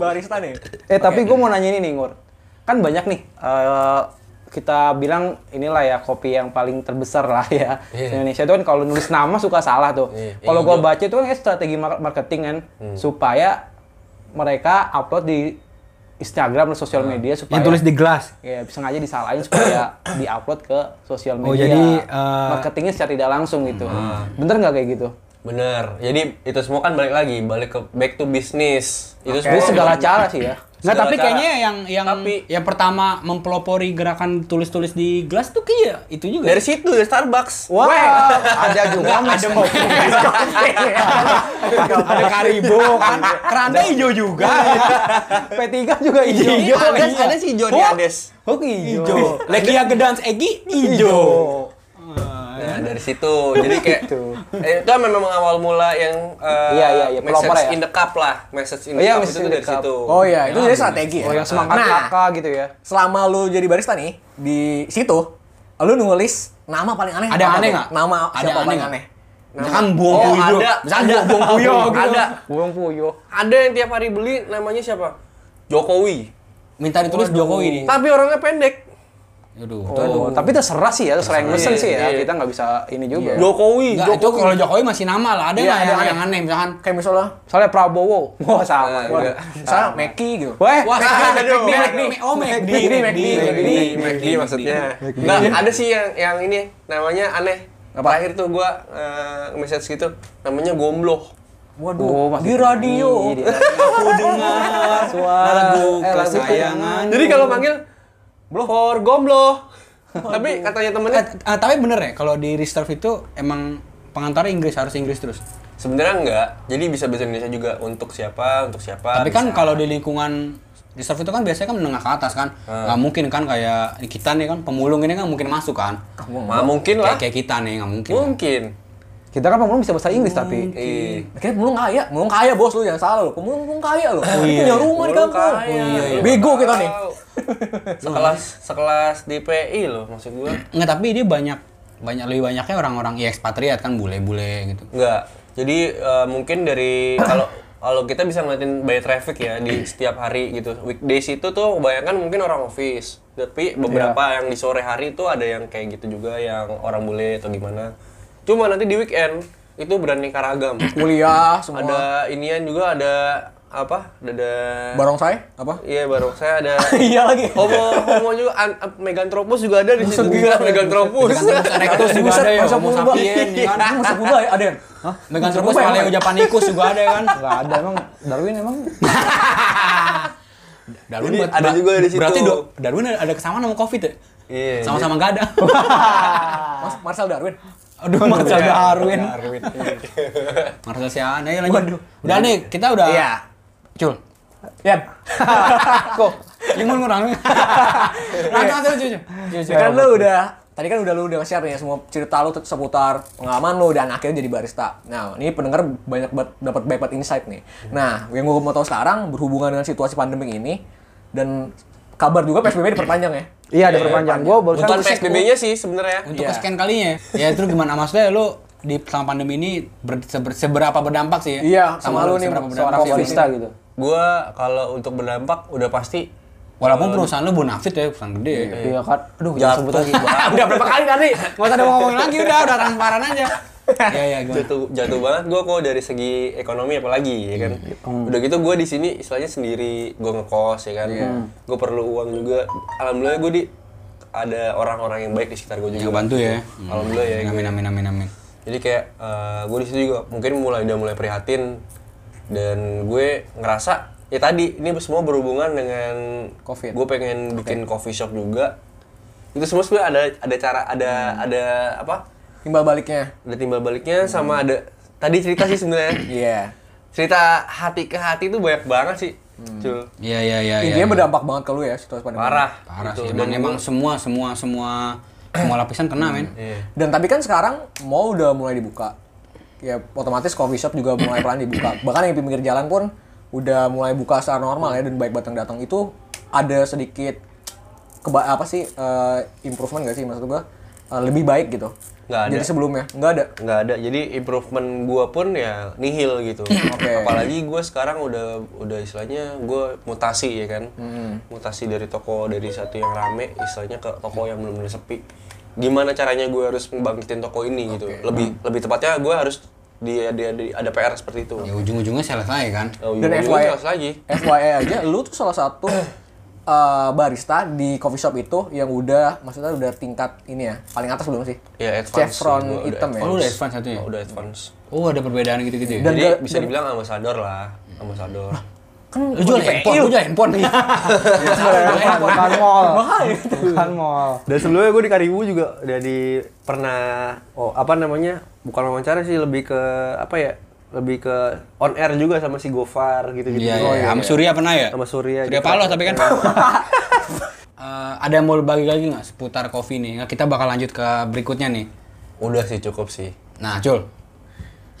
Barista nih.
Eh tapi gue mau nanya ini nih Ngur. Kan banyak nih eh, kita bilang inilah ya kopi yang paling terbesar lah ya di Indonesia itu kan kalau nulis nama suka salah tuh.
Iya, Hmm.
Kalau
yang
gue
hijau.
baca itu kan kayak strategi mar- marketing kan supaya mereka upload di Instagram dan
Ah.
sosial media
Yang
supaya
Iya, tulis di gelas.
ya sengaja disalahin supaya diupload ke sosial
Oh,
media.
jadi, eh,
marketingnya secara tidak langsung gitu.
Ah.
Bener nggak kayak gitu?
Bener. Jadi itu semua kan balik lagi, balik ke back to business. Itu kan
Jadi segala cara sih ya.
Nggak,
Segala
tapi
cara.
kayaknya yang yang
Tapi-
yang pertama mempelopori gerakan tulis-tulis di gelas tuh kayak itu juga.
dari situ dari Starbucks.
Wah, ada juga mas kopi.
ada Karibo kan. Keranda hijau juga.
P3 juga hijau.
Iya,
Ada,
iya.
ada si Jody
Oh.
Ades.
Hoki hijau.
Lekia Gedans Egi hijau.
Nah, dari situ. Jadi kayak eh, itu kan memang awal mula yang eh,
Gitu. Iya, iya, iya,
message
pelopor ya.
in the cup lah, message in
Oh,
the
iya,
cup
message
itu
in the
dari
cup.
situ.
Oh iya, itu jadi strategi ya.
Oh, yang semangat
nah,
kakak gitu ya.
selama lu jadi barista nih di situ, lu nulis nama paling aneh.
Ada
apa
aneh
tuh?
nggak?
Nama
Ada
siapa
aneh
paling
nggak?
aneh?
Misalkan buang
Oh,
puyuh.
ada.
Misalkan
Ada.
buang, buang puyuh gitu.
Ada.
Buang puyo.
Ada yang tiap hari beli namanya siapa? Jokowi.
Iya.
Minta ditulis Jokowi nih.
Tapi orangnya pendek.
Aduh.
Oh, tapi terserah sih ya, terserah yang mesen sih ya. Kita nggak bisa ini juga.
Jokowi,
Enggak, itu kalau Jokowi masih nama lah, ada
Iya,
lah
ada
yang,
aneh.
yang aneh misalkan.
Kayak misalnya,
Soalnya Prabowo, wah sama.
Nah,
Wah.
iya.
misalnya Meki gitu.
Weh,
Wah,
ada dong.
McD, McD, McD. Oh, McD,
McD,
McD,
McD,
McD,
McD maksudnya.
McD.
Nah, ada sih yang yang ini namanya aneh. Apa? Terakhir tuh gua eh, message gitu, namanya gombloh.
Oh,
Waduh,
masih Iya,
di
Iya,
radio.
di radio.
Aku dengar suara Eh, lagu kesayangan.
Eh, Jadi kalau manggil for gombloh. Tapi katanya temennya
Eh, eh, tapi bener ya, kalau di Reserve itu emang pengantarnya Inggris harus Inggris terus.
sebenarnya enggak. Jadi bisa bahasa Indonesia juga untuk siapa, untuk siapa.
Tapi kan
Ah, bisa.
kalau di lingkungan Reserve itu kan biasanya kan menengah ke atas kan, nggak mungkin kan kayak kita nih kan pemulung ini kan mungkin masuk kan.
Nah, mungkin lah.
Kayak, kayak kita nih nggak mungkin.
Oh, Mungkin.
Kita kan pemulung bisa bahasa Inggris tapi
gitu.
Iya.
Akhirnya pemulung kaya, pemulung kaya bos lu jangan salah lu. Pemulung, pemulung kaya
Oh,
lu.
iya,
Punya rumah di
Pemulung
kampung.
kaya. Oh, iya, iya.
Bego kita nih.
sekelas sekelas DPI loh maksud gua.
Nggak, tapi dia banyak banyak lebih banyaknya orang-orang ya, ekspatriat kan bule-bule gitu.
Enggak. Jadi eh, mungkin dari kalau kalau kita bisa ngeliatin by traffic ya di setiap hari gitu. Weekdays itu tuh kebanyakan mungkin orang office. Tapi
Iya.
beberapa yang di sore hari itu ada yang kayak gitu juga yang orang bule atau gimana. Cuma nanti di weekend itu beraneka ragam.
Hmm. Kuliah semua. Ada
ada inian juga ada apa? Ada, ada
barongsai apa?
Iya barong saya ada
Iya lagi.
homo homo juga an, megantropus juga ada di situ. Megantropus.
Rektus juga ada ya,
Masa
Homo
purba.
sapien ya kan.
Masa purba ya, Aden. Hah?
Megantropus Paleo Japanicus juga ada kan.
nggak ada emang Darwin emang
Darwin
Jadi
buat-
ada juga di situ.
Berarti do- Darwin ada, ada kesamaan sama Covid ya?
Iya.
Sama-sama nggak ada.
Mas Marcel Darwin.
Aduh, Marcel Darwin. Marcel Sian, ayo lanjut. Udah nih, kita udah.
Iya.
Cul.
Yan.
Kok? Limun kurang. Langsung aja lucu.
Ya kan lu udah Tadi kan udah lu udah share nih semua cerita lu seputar pengalaman lu dan akhirnya jadi barista. Nah, ini pendengar banyak banget dapat banyak banget insight nih. Nah, yang gua mau tahu sekarang berhubungan dengan situasi pandemi ini dan kabar juga PSBB diperpanjang ya.
Iya ada perpanjangan. Gue barusan
Bukan PSBB-nya sih sebenarnya.
Iya.
Untuk ke-scan kalinya. Ya itu gimana maksudnya lu di selama pandemi ini ber- seber- seberapa berdampak sih ya?
Iya, sama lu nih,
seberapa
seorang
berdampak sih?
covid.
Komunista gitu.
Gua kalau untuk berdampak udah pasti
Walaupun perusahaan lu bonafit ya, perusahaan gede. ya.
Iya kan. Aduh jangan sebut
jatuh
lagi.
udah berapa kali tadi? Nggak usah ada mau ngomongin lagi udah, udah transparan aja.
Ya,
Iya, iya, gimana?
jatuh jatuh banget gua kok dari segi ekonomi apalagi ya kan
Iya, Hmm.
udah gitu gua di sini istilahnya sendiri gua ngekos ya kan
Iya.
gua perlu uang juga alhamdulillah gua di ada orang-orang yang baik di sekitar gua juga
Iya.
Yang bantu ya.
alhamdulillah ya
Amin, amin, amin, amin.
jadi kayak gue di situ juga mungkin mulai udah mulai prihatin dan gue ngerasa ya tadi ini semua berhubungan dengan
Covid.
gue pengen bikin coffee shop juga itu semua sebenarnya ada ada cara ada
Hmm.
ada apa
Timbal baliknya.
ada timbal baliknya sama ada tadi cerita sih sebenarnya
Iya.
cerita hati ke hati itu banyak banget sih Cul.
Iya, iya, iya. iya,
Intinya
iya.
berdampak banget ke lu ya situasi pandemi.
parah
Parah
gitu.
sih. Emang, emang semua, semua, semua, semua lapisan kena, men.
Iya.
Dan tapi kan sekarang mall udah mulai dibuka. Ya otomatis coffee shop juga mulai pelan dibuka. Bahkan yang di pinggir jalan pun udah mulai buka secara normal ya dan baik batang datang itu ada sedikit keba apa sih eh, improvement gak sih maksud gua Eh, lebih baik gitu.
Nggak ada.
Jadi sebelumnya nggak ada.
nggak ada jadi improvement gua pun ya nihil gitu apalagi gua sekarang udah udah istilahnya gua mutasi ya kan
Hmm.
mutasi dari toko dari satu yang rame istilahnya ke toko yang belum benar sepi gimana caranya gua harus membangkitin toko ini gitu lebih lebih tepatnya gua harus di, di- di- ada PR seperti itu
Ya ujung-ujungnya sales lagi kan.
Oh,
Dan
iya,
FYI,
jelas lagi
FYI aja, lu tuh salah satu eh, barista di coffee shop itu yang udah, maksudnya udah tingkat ini ya, paling atas belum sih?
ya advance
Chevron
Gua udah
hitam ya.
Oh, lu udah advance satu ya?
udah advance
Oh, ada perbedaan gitu-gitu ya?
Dan
jadi
gak-
bisa dibilang ambassador lah ambassador
Kan
Lu jual handphone, lu jual handphone.
Bukan mall. Bukan mall.
Dan sebelumnya gue di Karibu juga udah di pernah oh apa namanya bukan wawancara sih lebih ke apa ya lebih ke on air juga sama si Gofar gitu gitu
Iya, iya, iya. Sama Surya pernah ya?
Sama Surya
Surya
gitu.
Paloh tapi kan. Eh, ada yang mau bagi lagi nggak seputar kopi nih? Nggak, Kita bakal lanjut ke berikutnya nih.
udah sih cukup sih
Nah, Jul.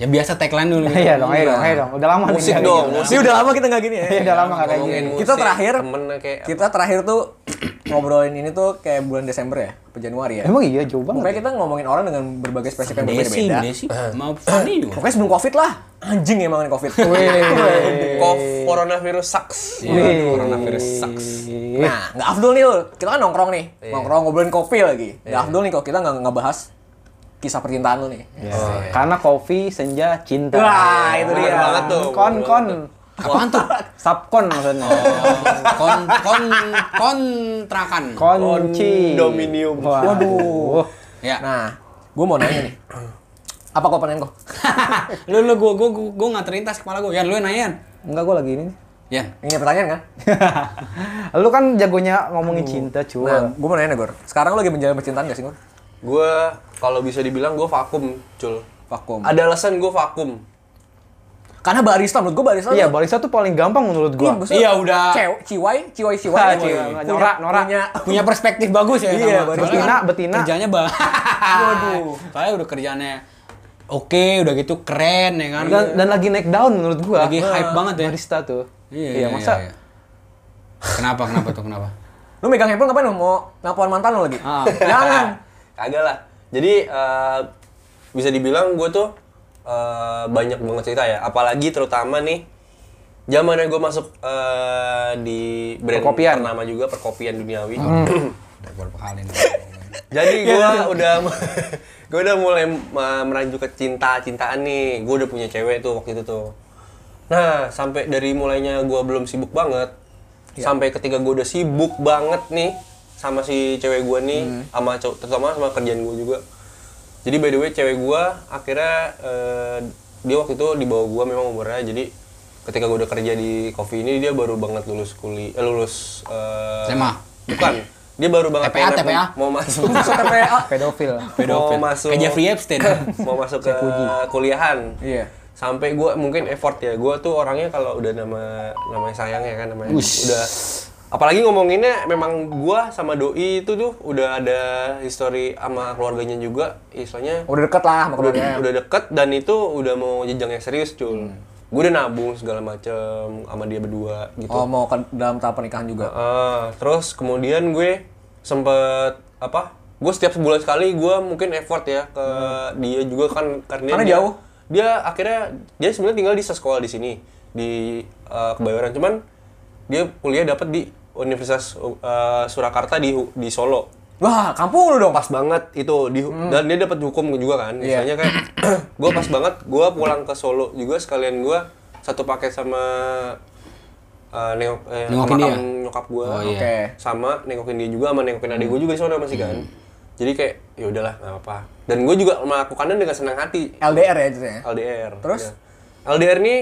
Ya biasa tagline dulu.
Iya dong, iya dong, iya dong. Udah lama nih
Musik
nggak
dong,
gini.
musik.
Sih udah lama kita nggak gini ya.
Iya, udah lama nggak kayak gini.
Ngomongin
kita
musik,
terakhir
temen kayak
kita terakhir tuh ngobrolin ini tuh kayak bulan Desember ya, atau Januari ya.
Emang iya jauh
Pokoknya
banget.
kita ngomongin orang dengan berbagai spesifik yang
Desi,
berbeda-beda.
Desi, mau Fanny juga.
Pokoknya sebelum covid lah, anjing ya ngomongin covid.
Kov- Coronavirus sucks.
Wih.
Coronavirus sucks.
nah, nggak afdol nih lu. Kita kan nongkrong nih, nongkrong ngobrolin kopi lagi. Nggak afdol nih kalau kita nggak ngebahas kisah percintaan lu nih.
Iya. Karena kopi, senja, cinta.
Wah, itu
dia. banget tuh.
Kon kon.
Apaan tuh?
Subkon maksudnya.
Oh, Kon, kon, kontrakan.
Konci.
Kondominium.
Wah.
Waduh.
Ya.
Nah, gue mau nanya nih. Apa kau pertanyaan kok?
lu lu gua gua gua, gua nggak terlintas kepala gua. Yan, lu yang nanya Yan.
Enggak gue lagi ini.
Yan.
Ini pertanyaan kan?
lu kan jagonya ngomongin cinta, cuy.
Nah, gue mau nanya nih, Gor. Sekarang lu lagi menjalin percintaan gak sih, Gor?
Gue kalau bisa dibilang gue vakum, cul.
Vakum.
Ada alasan gue vakum.
Karena barista, menurut gue barista
Iya,
tuh-
barista tuh paling gampang menurut
Iya,
gua.
maksudnya
Iya, udah.
Cewek, ciwai, ciwai, ciwai.
Ah,
Ciwai.
ciwai.
Punya-
Norak, norak.
Punya
Punya perspektif bagus ya.
Iya,
sama.
baru
Soalnya
betina,
kan
betina.
Kerjanya bang. Waduh. Soalnya udah kerjanya oke, udah gitu keren ya kan.
Dan, dan lagi naik down menurut gua. Ah.
Lagi hype banget ya.
Barista tuh.
Iya,
iya, masa
iya. Kenapa kenapa tuh kenapa?
lu megang handphone ngapain lu? Mau nelfon mantan lu lagi? Jangan.
Kagak lah. Jadi eh, bisa dibilang gue tuh eh, banyak banget cerita ya. Apalagi terutama nih zamannya gue masuk eh, di brand
Perkopian.
ternama juga perkopian duniawi.
Udah berapa kali nih.
Jadi gue udah gue udah mulai eh, meranjuk ke cinta-cintaan nih. Gue udah punya cewek tuh waktu itu tuh. Nah sampai dari mulainya gue belum sibuk banget, sampai ketika gue udah sibuk banget nih sama si cewek gue nih, sama cow- terutama sama kerjaan gue juga. Jadi by the way cewek gue akhirnya eh, dia waktu itu di bawah gue memang umurnya, jadi ketika gue udah kerja di coffee ini dia baru banget lulus kuliah, lulus eh,
SMA?
bukan dia baru banget
TPA,
pengen-
TPA.
mau masuk
Masuk TPA.
pedofil.
ah. mau masuk
Kayak Jeffrey Epstein.
mau masuk ke kuliahan
Iya.
sampai gue mungkin effort ya gue tuh orangnya kalau udah nama namanya sayang ya kan namanya
Ush.
udah apalagi ngomonginnya memang gue sama doi itu tuh udah ada history sama keluarganya juga istilahnya
Udah deket lah Oh, sama
udah,
keluarganya.
udah deket dan itu udah mau jenjang yang serius cul gue udah nabung segala macem sama dia berdua gitu
Oh, mau ke dalam tahap pernikahan juga.
Ah, terus kemudian gue sempet apa? Gue setiap sebulan sekali gue mungkin effort ya ke dia juga kan karena,
Karena
dia,
jauh.
Dia akhirnya dia sebenarnya tinggal di sekolah di sini di eh, Kebayoran cuman dia kuliah dapat di Universitas eh, Surakarta di di Solo.
Wah, kampung lu dong.
Pas banget itu di
Hmm.
dan dia dapat hukum juga kan.
Iya.
Misalnya kayak gue pas banget gue pulang ke Solo juga sekalian gue satu paket sama eh, nengok eh,
Nengokin
makam
dia?
nyokap gue
Oh,
Oke.
iya. Hmm.
sama nengokin dia juga sama nengokin adik gue juga di sana masih kan jadi kayak ya udahlah nggak apa dan gue juga melakukannya dengan senang hati
LDR ya ceritanya.
LDR
Terus?
ya. LDR nih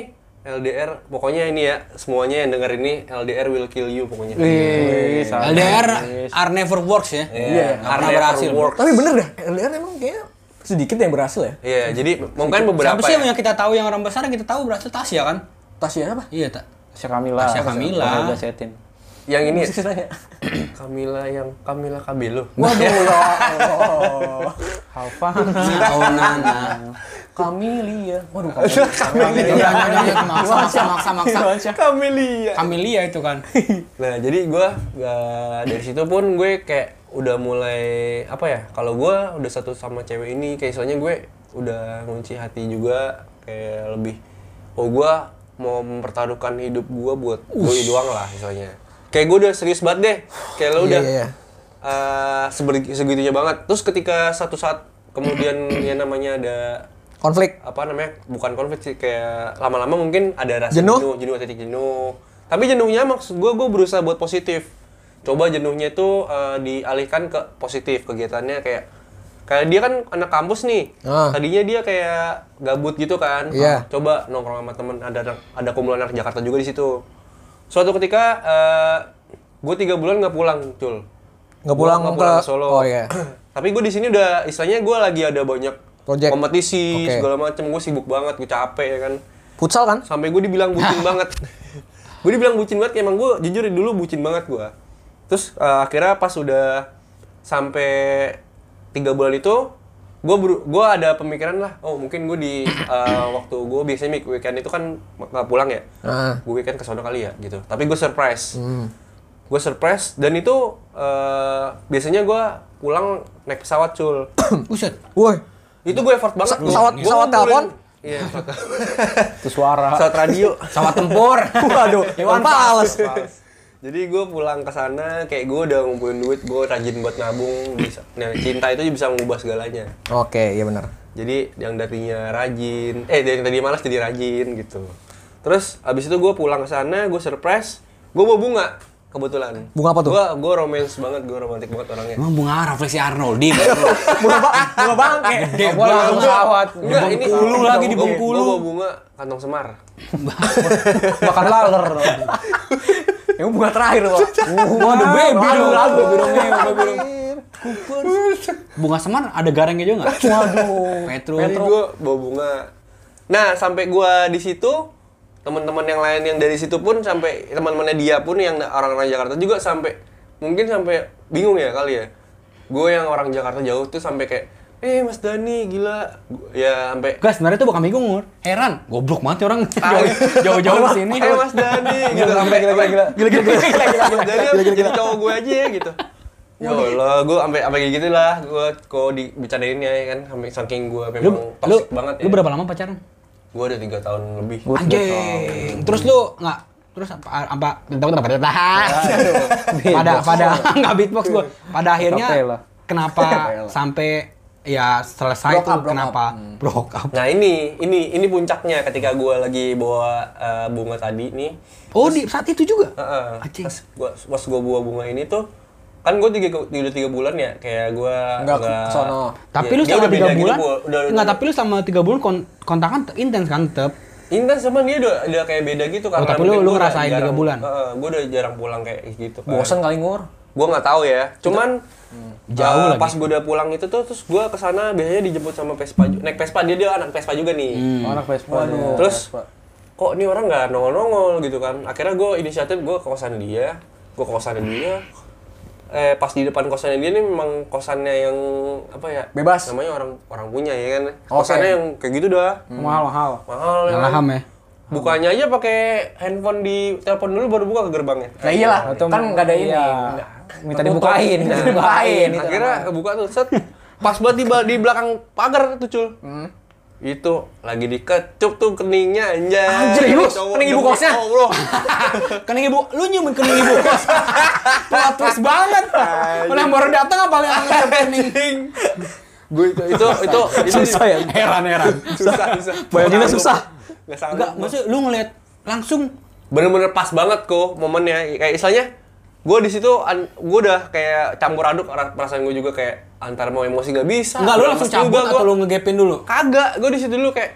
LDR pokoknya ini ya semuanya yang denger ini LDR will kill you pokoknya
Iya.
Wih, salah.
LDR are never works ya.
Iya,
Nggak pernah berhasil.
works.
Tapi bener dah, LDR emang kayaknya sedikit yang berhasil ya.
Iya, jadi mungkin beberapa
Siapa sih
ya.
yang yang kita tahu yang orang besar yang kita tahu berhasil Tasya kan?
Tasya apa?
Iya tak.
Tasya Kamila.
Tasya Kamila.
Udah setin.
yang ini ya?
Sih nanya.
Kamila yang Kamila Kabelo.
Waduh, ya Allah.
Alfa.
Oh nana.
Kamilia. Waduh, Kamilia. Kamilia.
Iya, Maksa maksa maksa maksa.
Kamilia.
Kamilia itu kan.
Nah, jadi gue dari situ pun gue kayak udah mulai apa ya? Kalau gue udah satu sama cewek ini, kayak soalnya gue udah ngunci hati juga kayak lebih oh gue mau mempertaruhkan hidup gue buat doi doang lah misalnya. Kayak gue udah serius banget deh. Kayak lo udah
iya, iya.
eh, seberi- segitunya banget. Terus ketika satu saat kemudian ya namanya ada
Konflik.
apa namanya bukan konflik sih kayak lama-lama mungkin ada rasa
Jenuh?
jenuh jenuh titik jenuh tapi jenuhnya maksud gue gue berusaha buat positif coba jenuhnya itu eh, dialihkan ke positif kegiatannya kayak kayak dia kan anak kampus nih
Ah.
tadinya dia kayak gabut gitu kan
Iya.
coba nongkrong sama temen ada anak- ada kumpulan anak Jakarta juga di situ suatu ketika eh, gue tiga bulan nggak pulang cul
Nggak
Gua
pulang ke-
Solo
oh, iya.
tapi gue di sini udah istilahnya gue lagi ada banyak
Project.
kompetisi
Oke.
segala macem gue sibuk banget gue capek ya kan
Futsal kan?
sampai gue dibilang bucin banget gue dibilang bucin banget kayak emang gue jujur dari dulu bucin banget gue terus eh, akhirnya pas udah sampai tiga bulan itu gue gue ada pemikiran lah oh mungkin gue di eh, waktu gue biasanya mik- weekend itu kan nggak pulang ya
Ah. Hmm.
gue weekend ke sono kali ya gitu tapi gue surprise gue surprise dan itu eh, biasanya gue pulang naik pesawat cul
Buset.
Woi,
itu gue effort banget
Sa- pesawat-
Gua
pesawat
ngumpulin-
telepon?
iya pesawat telepon.
Itu suara.
pesawat radio
Sawat tempur.
waduh, Iwan Fals.
jadi gue pulang ke sana kayak gue udah ngumpulin duit gue rajin buat nabung bisa nah, cinta itu bisa mengubah segalanya
Oke, iya benar.
jadi yang tadinya rajin eh dari yang tadinya malas jadi rajin gitu terus abis itu gue pulang ke sana gue surprise gue bawa bunga kebetulan
Bunga apa tuh?
gue gue romance banget gue romantis banget orangnya
Emang bunga refleksi Arnoldi.
Bunga bang, bunga bangke.
Gak boleh langsung pesawat.
Enggak, ini
Bengkulu lagi di
Gua-
Bengkulu.
gua bawa bunga kantong semar.
Makan laler.
Yang bunga terakhir loh.
Waduh, baby
Lalu,
dong.
lalu, baby dong, baby dong.
Bunga semar ada garangnya juga nggak? Waduh. Petrus.
Jadi gue bawa bunga. Nah, sampai gue di situ teman-teman yang lain yang dari situ pun sampai teman-temannya dia pun yang orang-orang Jakarta juga sampai mungkin sampai bingung ya kali ya. Gue yang orang Jakarta jauh tuh sampai kayak Eh Mas Dani gila Gua- ya sampai
Guys, sebenarnya itu bukan bingung, Nur. Heran. Goblok banget orang Jauh- jauh-jauh ke sini.
Eh Mas Dani gitu
Gila,
sampai
gila, gila, gila.
gila gila gila gila jadi jadi cowok gue aja ya gitu ya Allah gue sampai sampai kayak gitu lah gue kok dibicarain ya kan sampai saking gue
Lu,
memang
lu,
toxic banget ya
lu berapa lama pacaran?
gue udah tiga tahun lebih
Anjing. Terus lu nggak terus apa apa bentar bentar bentar pada pada nggak beatbox gua pada
Acapella.
akhirnya kenapa sampai ya selesai
Broke up, Hmm.
tuh
broke
kenapa broke up
nah ini ini ini puncaknya ketika gue lagi bawa eh, bunga tadi nih
oh di saat itu juga
Iya.
Heeh.
Anjing.
pas gue pas gue bawa bunga ini tuh kan gue tiga udah tiga bulan ya kayak Iya, gue
Nggak ke sono.
tapi lu selama tiga bulan nggak
nggak
tapi lu selama tiga bulan kon kontakan te- intens kan tetep
Intens sama Iya, dia udah, udah kayak beda gitu
Oh,
karena
tapi
mungkin
lu- lu
gua udah
ngerasain tiga
jarang-
bulan?
Heeh, gua udah jarang pulang kayak gitu kan.
Bosan kali ngur.
Gua nggak tahu ya. Cuman
Hmm. Jauh
eh,
lagi.
Pas gua udah pulang itu tuh terus gua kesana biasanya dijemput sama Vespa. ju- Naik Vespa dia dia anak Vespa juga nih.
Hmm.
Anak Vespa.
Waduh. Terus kok ini orang nggak nongol-nongol gitu kan. Akhirnya gua inisiatif gua ke kosan dia, gua ke kosan dia. Eh pas di depan kosannya dia nih memang kosannya yang apa ya?
Bebas.
Namanya orang orang punya ya kan. Kosannya yang kayak gitu dah.
Hmm.
Mahal-mahal.
Mahal ya. kan?
ngalaham ya
Bukanya aja pakai handphone di telepon dulu baru buka ke gerbangnya.
Nah iyalah, kan nggak ada ini.
Iya. Minta dibukain.
Minta
Nah.
dibukain. itu.
Akhirnya kebuka tuh set. Pas buat di, ba- di belakang pagar tuh cul.
Hmm.
Itu lagi dikecup tuh keningnya anjay.
Anjir, ibu. Kening ibu kosnya.
Oh, bro.
kening Kan ibu lu nyumin kening ibu plot twist banget orang baru datang apa yang kening
Gue itu itu itu itu susah ya.
heran heran
Susah, susah.
Bayanginnya susah.
Enggak sanggup.
enggak maksud lu ngeliat langsung
bener-bener pas banget kok momennya kayak istilahnya gue di situ an- gue udah kayak campur aduk ra- perasaan gue juga kayak antar mau emosi gak bisa
enggak lu
Lemes
langsung
juga
cabut
gua.
atau lu ngegepin dulu
kagak gue di situ dulu kayak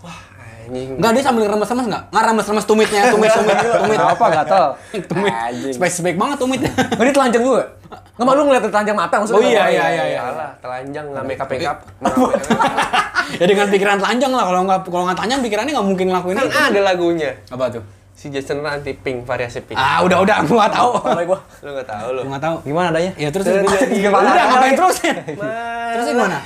wah anjing
Enggak, dia sambil remes-remes enggak? Enggak remes-remes tumitnya, tumit-tumit, tumit.
Apa gatel?
Tumit. Spesifik banget tumitnya.
Ini telanjang juga. Nggak malu ngeliat telanjang mata maksudnya.
Oh, iya,
nggak
iya,
malu.
iya, iya.
ya? Alah, telanjang nggak make up make up.
ya dengan pikiran telanjang lah kalau nggak kalau nggak telanjang pikirannya nggak mungkin ngelakuin
Kan
itu.
ada lagunya.
Apa tuh?
Si Jason nanti pink variasi pink.
Ah, udah udah gua nggak tahu.
Mulai gua.
Lu nggak tahu lu.
Gua nggak tahu.
Gimana adanya?
Ya terus terus
Terjadi.
gimana? Udah ngapain terus?
Terus
Terus gimana?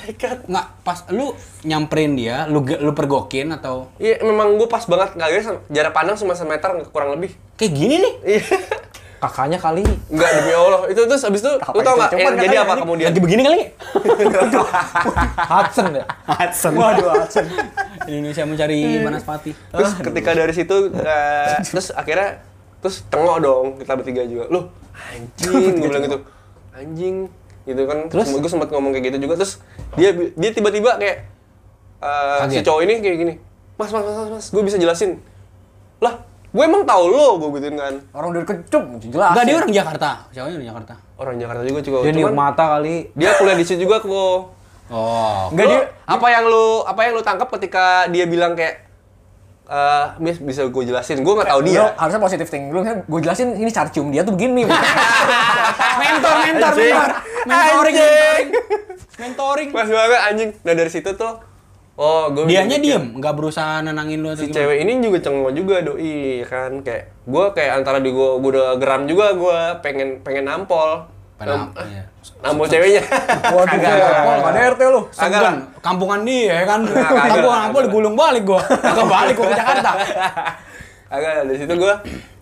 Nggak pas lu nyamperin dia, lu ge- lu pergokin atau
Iya, memang gue pas banget kagak sama- jarak pandang cuma semeter kurang lebih.
kayak gini nih?
Iya.
Kakaknya kali.
Enggak demi
Ah.
Allah. Itu terus habis itu lu tau nggak? yang jadi apa kemudian?
Lagi begini kali?
Hudson ya?
Hudson. Waduh, Hudson. Indonesia
Eh,
mencari Banaspati.
Terus ketika dari situ eh, terus akhirnya terus tengok dong kita bertiga juga. Loh, anjing gue bilang gitu. Anjing gitu kan. Terus gue sempat ngomong kayak gitu juga terus dia bi- dia tiba-tiba kayak eh, si cowok ini kayak gini. Mas, mas, mas, mas, mas, gue bisa jelasin. Lah, gue emang tahu lo, gue gituin kan.
Orang udah kecup, jelas.
Enggak, dia orang Jakarta. Siapa orang Jakarta?
Orang Jakarta juga juga.
Dia niup
Cuman,
mata kali.
dia kuliah di situ juga kok.
Oh,
Enggak dia apa yang lu apa yang lu tangkap ketika dia bilang kayak eh Miss bisa gue jelasin, gue nggak tahu
Lu
dia.
harusnya positif thinking dulu kan. Gue jelasin ini cara cium dia tuh begini.
mentor, mentor,
Anjing.
mentor, mentoring,
Anjing.
mentoring, mentoring.
Pas banget anjing. Nah dari situ tuh, oh gue.
Dianya diem, nggak berusaha nenangin lu atau
Si
gimana?
cewek ini juga cengeng juga doi kan kayak gue kayak antara di gue gue udah geram juga gue pengen pengen nampol.
Pengen nampol,
Nam-
iya.
Nampol ceweknya.
Waduh, enggak ada RT lu.
Agak
Segan, kampungan dia ya kan.
kagak.
Aku orang apa digulung balik gua. Kagak balik gua ke Jakarta.
Agak dari situ gue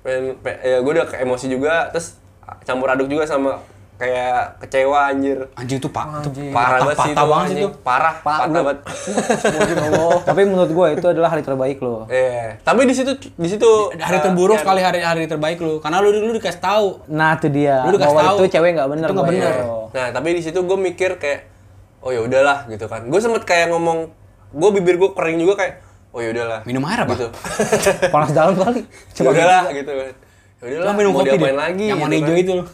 pengen pe- ya gue udah ke emosi juga terus campur aduk juga sama kayak kecewa anjir.
Anjing itu pak, itu
Anjing.
Parah
patah-
banget sih
patah
itu
banget sih
anjing.
itu.
Parah,
Pak,
patah
udah.
banget.
Ya Tapi menurut gue itu adalah hari terbaik lo.
Iya. Tapi di situ di situ eh,
Hari terburuk
Iya,
sekali hari hari terbaik lu, karena lu dulu dikasih tahu.
Nah itu dia.
Lu dikasih
Bahwa
tahu.
itu cewek nggak bener.
Itu nggak
buat
bener.
lo.
Nah, tapi di situ gue mikir kayak oh ya udahlah gitu kan. Gue sempet kayak ngomong, gue bibir gue kering juga kayak oh ya udahlah.
Minum air apa?
Gitu.
Panas dalam kali.
ya udahlah gitu kan. Ya udahlah.
Lu minum
mau
kopi deh.
diapain lagi?
Yang
gitu
warna
kan. Gitu,
hijau itu lu.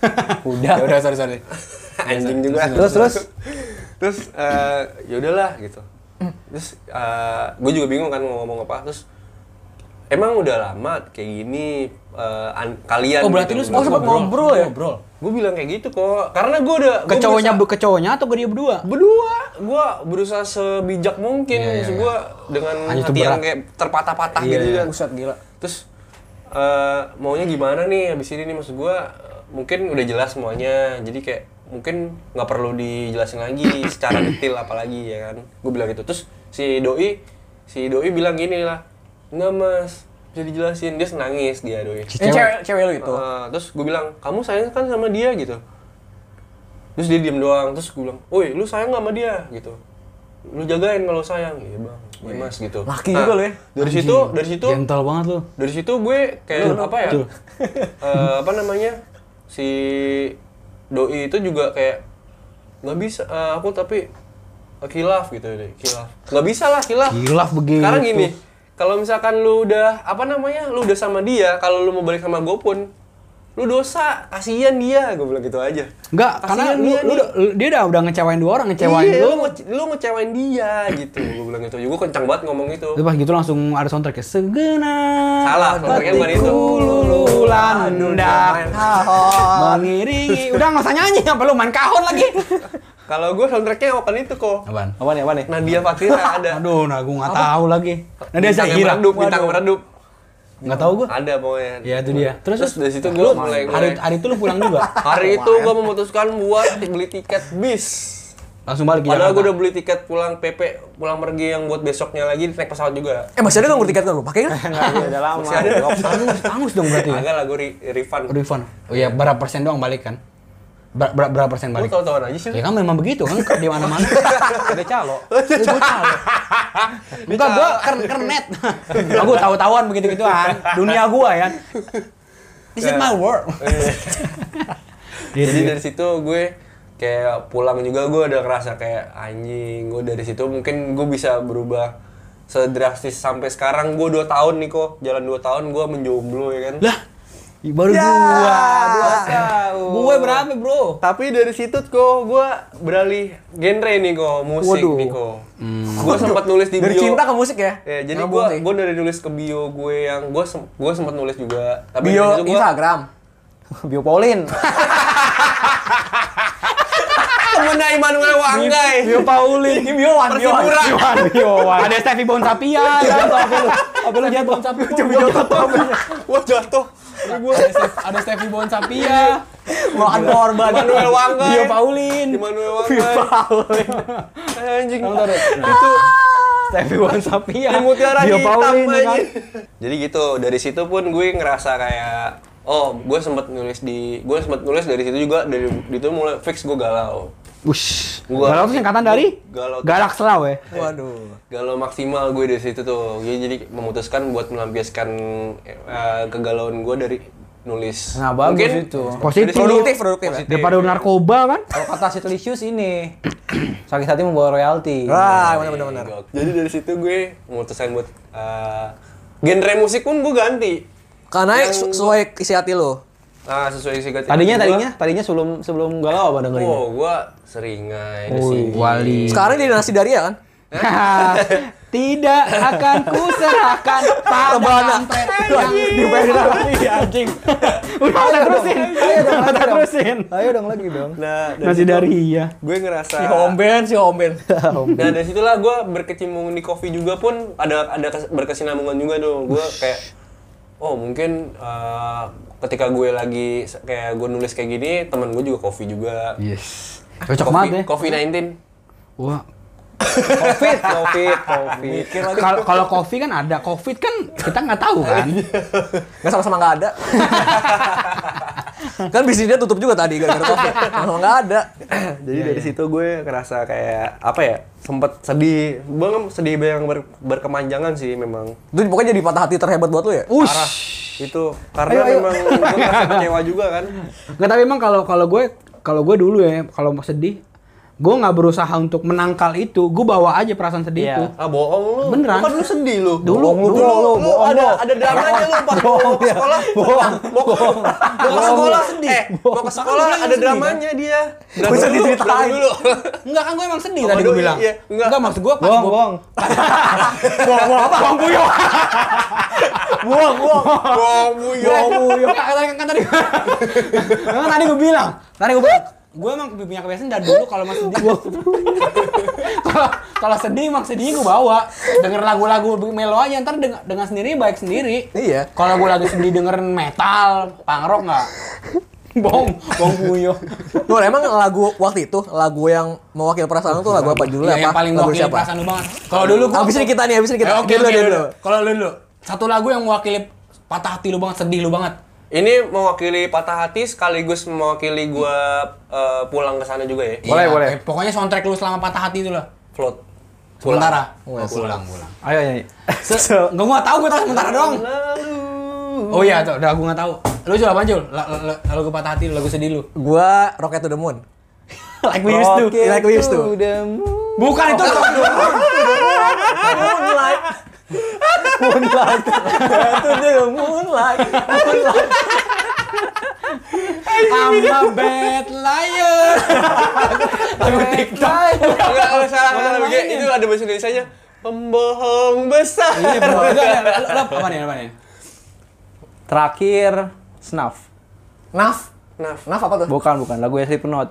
Udah.
Ya udah sorry sorry.
Anjing juga.
Terus, terus?
terus eh, ya udahlah gitu. Terus gue juga bingung kan mau ngomong apa. Terus emang udah lama kayak gini eh, an- kalian
Oh berarti lu
gitu.
sempat
Oh, sempat ngobrol ya?
Ngobrol.
gue bilang kayak gitu kok karena gue udah
Ke
gua
cowoknya ke
berusaha-
cowoknya atau ke dia berdua?
berdua gue berusaha sebijak mungkin
Iya,
maksud gue dengan
Anjing, itu
hati yang
berat. Iya,
kayak terpatah-patah gitu kan
Buset gila.
terus eh, maunya gimana nih abis ini nih maksud gue mungkin udah jelas semuanya jadi kayak mungkin nggak perlu dijelasin lagi secara detail apalagi ya kan gue bilang gitu terus si doi si doi bilang gini lah nggak mas bisa dijelasin dia nangis dia doi
Ini cewek, cewek lu itu.
Ah, terus gue bilang, kamu sayang kan sama dia gitu. Terus dia diem doang. Terus gue bilang, woi lu sayang gak sama dia gitu. Lu jagain kalau sayang. Iya bang, iya mas gitu.
Laki juga lu ya.
Dari situ, dari situ,
Gentle banget lu.
dari situ gue kayak apa ya? eh, apa namanya? Si doi itu juga kayak nggak bisa eh, aku tapi eh, kilaf gitu deh kilaf nggak bisa lah kilaf
Gilaf begitu.
sekarang gini, kalau misalkan lu udah apa namanya, lu udah sama dia, kalau lu mau balik sama gue pun, lu dosa, kasihan dia, gue bilang gitu aja.
Enggak, karena
Kasihan
lu,
dia
lu,
nih.
udah- lu- dia udah udah ngecewain dua orang, ngecewain
Iya, lu,
lu.
ngece- lu ngecewain dia gitu, gue bilang gitu. Gue kencang banget ngomong gitu.
Terus pas gitu langsung ada soundtrack ya segenap
Salah, soundtracknya bukan itu.
lululan mengiringi udah nggak usah nyanyi apa lu main kahon lagi
Kalau gue soundtracknya bukan itu kok.
apaan
Apa nih, apa nih?
Nadia Fatira ada.
aduh nah gue nggak tahu lagi nah dia
Bintang yang
Shakira
Meredup, bintang meredup.
nggak tahu gue
Ada pokoknya.
Iya,
ya itu dia
Terus,
terus
dari situ gue mulai, mulai.
hari hari itu lu pulang juga
Hari itu gue memutuskan buat beli tiket bis.
langsung balik ke
Padahal gue
Jakarta
udah beli tiket pulang PP, pulang pergi yang buat besoknya lagi naik pesawat juga.
Eh masih ada nggak tiket lu? Pakai kan?
Nggak, udah lama.
Masih ada.
angus angus dong berarti ya
Agak lah gue re- refund.
refund oh iya berapa persen doang balik kan Ber- ber- berapa persen
Lu
balik
tau-tauan aja sih.
ya kan memang begitu kan di mana mana
Ada calo.
Enggak, gua ker- kernet. Aku tahu-tahuan begitu-gituan. Kan Dunia gua ya. This is my world. Iya,
Jadi dari situ gue kayak pulang juga gue udah ngerasa kayak anjing. Gue dari situ mungkin gue bisa berubah sedrastis sampai sekarang gue 2 tahun nih kok jalan 2 tahun gue menjomblo ya kan Ya,
Lah, baru gua.
dua tahun.
Gue berapa, Bro?
tapi dari situ kok gue beralih genre nih kok musik
Waduh.
nih kok
Hmm.
gue sempat nulis di
Dari
bio
cinta ke musik ya?
Ya, jadi
Nyambung
gue
sih.
gue dari nulis ke bio gue yang gue sem gue sempat nulis juga tapi
Bio
dari situ gua-
Instagram.
Biopolin.
temennya Immanuel Wanggai
Bio Paulin.
Ini Bio Wan, Bio Wan.
Persipura
Ada Stevie Bonsapia, kan? Apa lu? Apa lu jatuh? Coba jatuh.
wah jatuh Tapi gua
Ada Stevie Bonsapia.
Makan korban.
Immanuel Wanggai
Bio Paulin.
Immanuel Wanggai anjing
Itu. Stevie Wan Sapia.
Di mutiara
Bio
hitam
Paulin. Iya. ya
aja.
kan?
Jadi gitu, dari situ pun gue ngerasa kayak oh, gue sempet nulis di gue sempet nulis dari situ juga dari itu mulai fix gue galau.
Wush.
Gua-
Galau tuh singkatan dari
Galau.
Galak Selau ya.
Waduh.
Galau maksimal gue dari situ tuh. Gue jadi memutuskan buat melampiaskan eh, kegalauan gue dari nulis.
Nah, bagus itu.
Positif.
Produktif, produktif ya?
Daripada narkoba kan?
Kalau kata Sitlicious ini. Sakit hati membawa royalti.
Wah,
Ah,
benar-benar.
Jadi dari situ gue memutuskan buat eh, genre musik pun gue ganti.
Karena su- sesuai isi hati lu.
Nah, sesuai isi hati
Tadinya
gue.
tadinya tadinya sebelum sebelum galau apa dengerin?
Oh.
Wow, gue seringai di sini.
Wali.
Sekarang dia nasi daria kan?
Tidak akan kuserahkan pada
Rebana.
kampret yang dipegang lagi Iya, anjing. Udah udah terusin. Udah terusin.
Ayo dong lagi dong.
Nah, dari
Masih
situ
dari iya.
gue ngerasa
Si Homben, si Homben.
Nah dari situlah gue berkecimpung di kopi juga pun ada ada kes- berkesinambungan juga dong. Gue kayak oh mungkin eh, ketika gue lagi se- kayak gue nulis kayak gini teman gue juga kopi juga.
Yes. Cocok
Kopi-
banget Iya. ya.
Kopi 19.
Wah.
Covid, Covid, Covid.
Kalau kalau kopi kan ada, covid kan kita nggak tahu kan.
Gak sama-sama gak ada. kan bisnis dia tutup juga tadi gara-gara covid. Kalau nggak ada.
Jadi
Iya,
dari situ gue ngerasa kayak apa ya sempet sedih, gue nggak sedih yang ber- berkemanjangan sih memang.
Itu pokoknya jadi patah hati terhebat buat lu ya?
Parah. Itu karena memang gue ngerasa kecewa juga kan.
Nggak tapi emang kalau kalau gue kalau gue dulu ya kalau mau sedih, gue nggak berusaha untuk menangkal itu, gue bawa aja perasaan sedih
Iya.
itu.
Ah bohong lu.
Beneran.
Lu Kan lu sedih lu.
Dulu,
Bohong lu,
dulu,
lu, lu,
bohong
ada
lu.
ada dramanya lu pas mau ke sekolah. Bohong. Mau ke mau ke sekolah sedih. Eh, mau ke sekolah
Bohong.
ada dramanya dia. Drama
Bisa
dulu,
diceritain.
drama dulu.
Enggak kan gue emang sedih
Oh,
tadi gue
aduh,
bilang.
iya, enggak.
enggak. maksud gue pas
Bohong,
gua-
bohong.
Bohong ya. buyo.
Enggak, Iya, kan kan- kan tadi. Memang tadi gue bilang, tadi gue bilang gue emang punya kebiasaan dari dulu kalau emang sedih gua- Kalau- kalau sedih emang sedihnya gue bawa denger lagu-lagu melo aja ntar dengan, dengan sendiri baik sendiri
Iya.
kalau gue lagi sedih dengerin metal punk rock nggak bong bong puyo
Lu emang lagu waktu itu lagu yang mewakili perasaan lu tuh lagu apa judulnya
Ya, yang
apa?
paling
lagu
mewakili perasaan lu banget kalau dulu gue
Habis ini kita nih, habis ini kita.
Eh, oke
Dulu, dulu,
oke dulu.
dulu.
Kalau lu dulu, satu lagu yang mewakili patah hati lu banget, sedih lu banget.
Ini mewakili patah hati sekaligus mewakili gue pulang ke sana juga ya.
Boleh, boleh.
eh, Pokoknya soundtrack lu selama patah hati itu lah.
Float.
Sementara.
Pulang.
Oh, pulang, pulang.
Ayo nyanyi.
Se enggak gua nggak tahu, gua tahu sementara doang. Oh iya, tuh, udah gua enggak tahu. Lu Jul apa Jul? La- la- la- Lagu patah hati lu, lagu sedih lu.
Gua Rocket to the Moon.
like we used to.
Rocket Like we used to.
the moon.
Bukan itu.
Moonlight. Moonlight. To the moonlight.
I'm a bad liar. Lagu TikTok.
Enggak, enggak salah,
Orang
salah lagi.
lain.
Itu ada bahasa Indonesia-nya. Pembohong besar.
Iya, bro. Itu ada. Lu- lu Apa nih, apa nih?
Terakhir Snuff.
Naf.
Naf.
Naf apa tuh?
Bukan, bukan. Lagu Slipknot.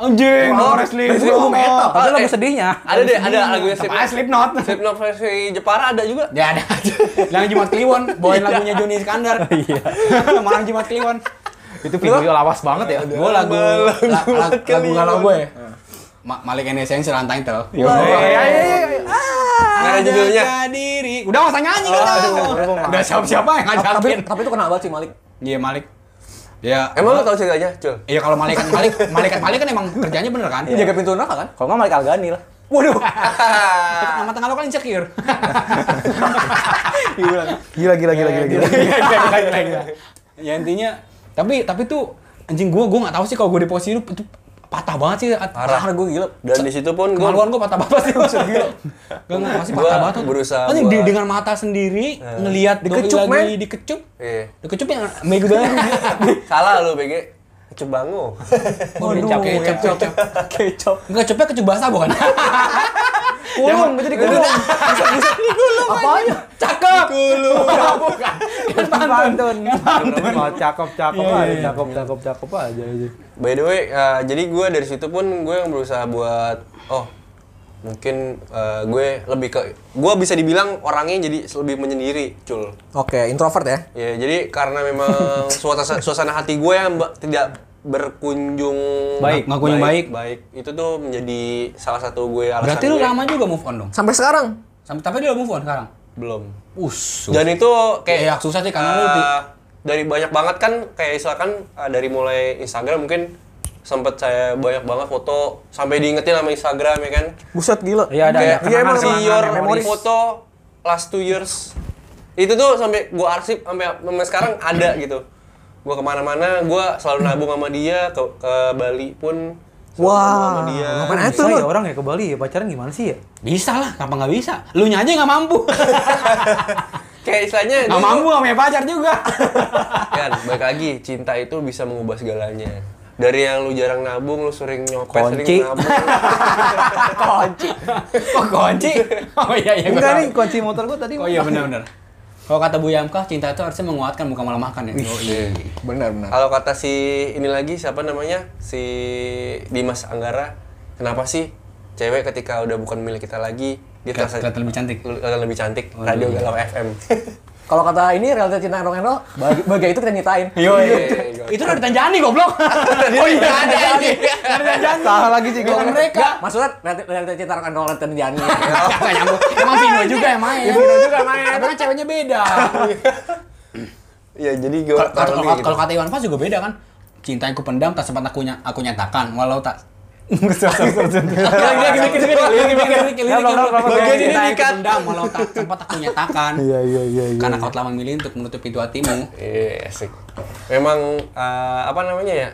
Anjing,
Oh,
Slipknot.
Oh, itu
eh.
lagu sedihnya.
Ada deh, ada lagunya
Tetep
Slipknot.
aja Slipknot.
Slipknot versi Jepara ada juga.
Hmm, Ya ada aja. Yang Jumat Kliwon, bawain lagunya Joni Iskandar. Iya. Malam Jumat Kliwon.
Itu video lawas banget ya.
Gue lagu la-
Malam
la-
Jumat
lagu ya?
Kliwon.
galau gue. Ma Malik and Essence Rantai Tel.
Yo. iya,
ada judulnya.
diri.
Oh,
Udah gak usah nyanyi kan. Udah siapa-siapa yang
Tapi
ngajakin.
tapi itu kenal banget sih Malik.
Iya Malik. Ya.
Emang lu tahu ceritanya, Cul?
Iya kalau Malik kan Malik, Malik kan Malik kan emang kerjanya bener kan?
Dia Jaga pintu neraka kan?
Kalau nggak Malik Algani lah.
Waduh.
Nama tengah lo kan insecure.
Gila, gila, gila, gila, gila.
Iya, ya intinya tapi tapi tuh anjing gua gua nggak tahu sih kalau gua di posisi lu itu patah banget sih
Parah gue gila.
Dan di situ pun gue
kemaluan gua patah banget sih maksud gila gak nggak pasti
Gua
patah banget tuh.
berusaha
anjing
buat- Eh.
di- dengan mata sendiri ngelihat
Dikecup,
dikecup lagi
men.
dikecup
Iya.
dikecup yang mega banget
Salah lu, BG. Cebango.
Waduh, kecap, kecap, kecap.
Kecap.
Enggak, cepet kecup basah bukan?
Kulung, itu dikulung.
Apanya?
Cakep!
Pantun. Iya, Pantun. Cakep, cakep
Iya,
aja.
iya.
Cakep, cakep, cakep aja. aja.
By the way, eh, jadi gue dari situ pun gue yang berusaha buat oh mungkin eh, gue lebih ke gue bisa dibilang orangnya jadi lebih menyendiri, Cul.
Oke, introvert ya.
Ya, jadi karena memang suasana suasana hati gue yang ba- tidak berkunjung
Baik,
nggak kunjung
baik. Itu tuh menjadi salah satu gue alasan
Berarti lu
gue-
lama juga move on dong?
Sampai sekarang.
Sampai, tapi dia udah move on sekarang?
belum.
Us.
Dan itu kayak
Iya, susah sih karena lu
eh,
di-
dari banyak banget kan kayak misalkan eh, dari mulai Instagram mungkin sempet saya banyak banget foto sampai diingetin sama Instagram ya kan.
Buset gila.
Iya, ada, ada.
kayak
Iya, emang
see
kenangan,
your
memories.
foto last two years itu tuh sampai gua arsip sampai sampai sekarang ada gitu gua kemana-mana gua selalu nabung sama dia ke, ke Bali pun selalu nabung
Wah.
sama dia
Nah, Ngapain aja
Bisa
tuh?
Iya.
lu?
ya orang ya ke Bali ya pacaran gimana sih ya?
Bisa lah, kenapa nggak bisa? Lu aja nggak mampu.
kayak istilahnya
Nggak
dulu-
mampu nggak punya pacar juga.
kan baik lagi cinta itu bisa mengubah segalanya dari yang lu jarang nabung lu sering nyopet
Kunci.
sering nabung
Kok kunci? Oh iya iya. gua
Enggak
tahu.
nih kunci motor gua tadi.
Oh iya benar-benar. Kalau kata Bu Yamkah, cinta itu harusnya menguatkan bukan malah makan ya.
Benar, benar.
kalau kata si ini lagi siapa namanya si Dimas Anggara kenapa sih cewek ketika udah bukan milik kita lagi dia
Kelihat-
terasa-
kelihatan lebih cantik.
kelihatan lebih cantik radio galau FM
Kalau kata ini realita cinta rock and roll, bahagia, bahagia itu kita nyitain.
Iya,
Yo, itu udah ditanjani goblok. oh iya ada ini.
Salah lagi sih
Bukan
gua.
mereka.
Maksudnya realita, realita cinta rock and roll dan Diani.
Gak nyambung. Emang Vino juga yang main. Vino juga main. Tapi kan ceweknya beda.
ya jadi gue gitu.
Kalau- kalau- Kalau kalau kata Iwan Fals juga beda kan. Cinta yang kupendam tak sempat aku, ny- aku nyatakan walau tak
Bagian ini
Cinta yang
dikat.
kupendam walau tak sempat aku nyatakan
Iya iya iya. iya.
karena kau telah memilih untuk menutup pintu hatimu.
Iya, asik. Memang eh, apa namanya ya?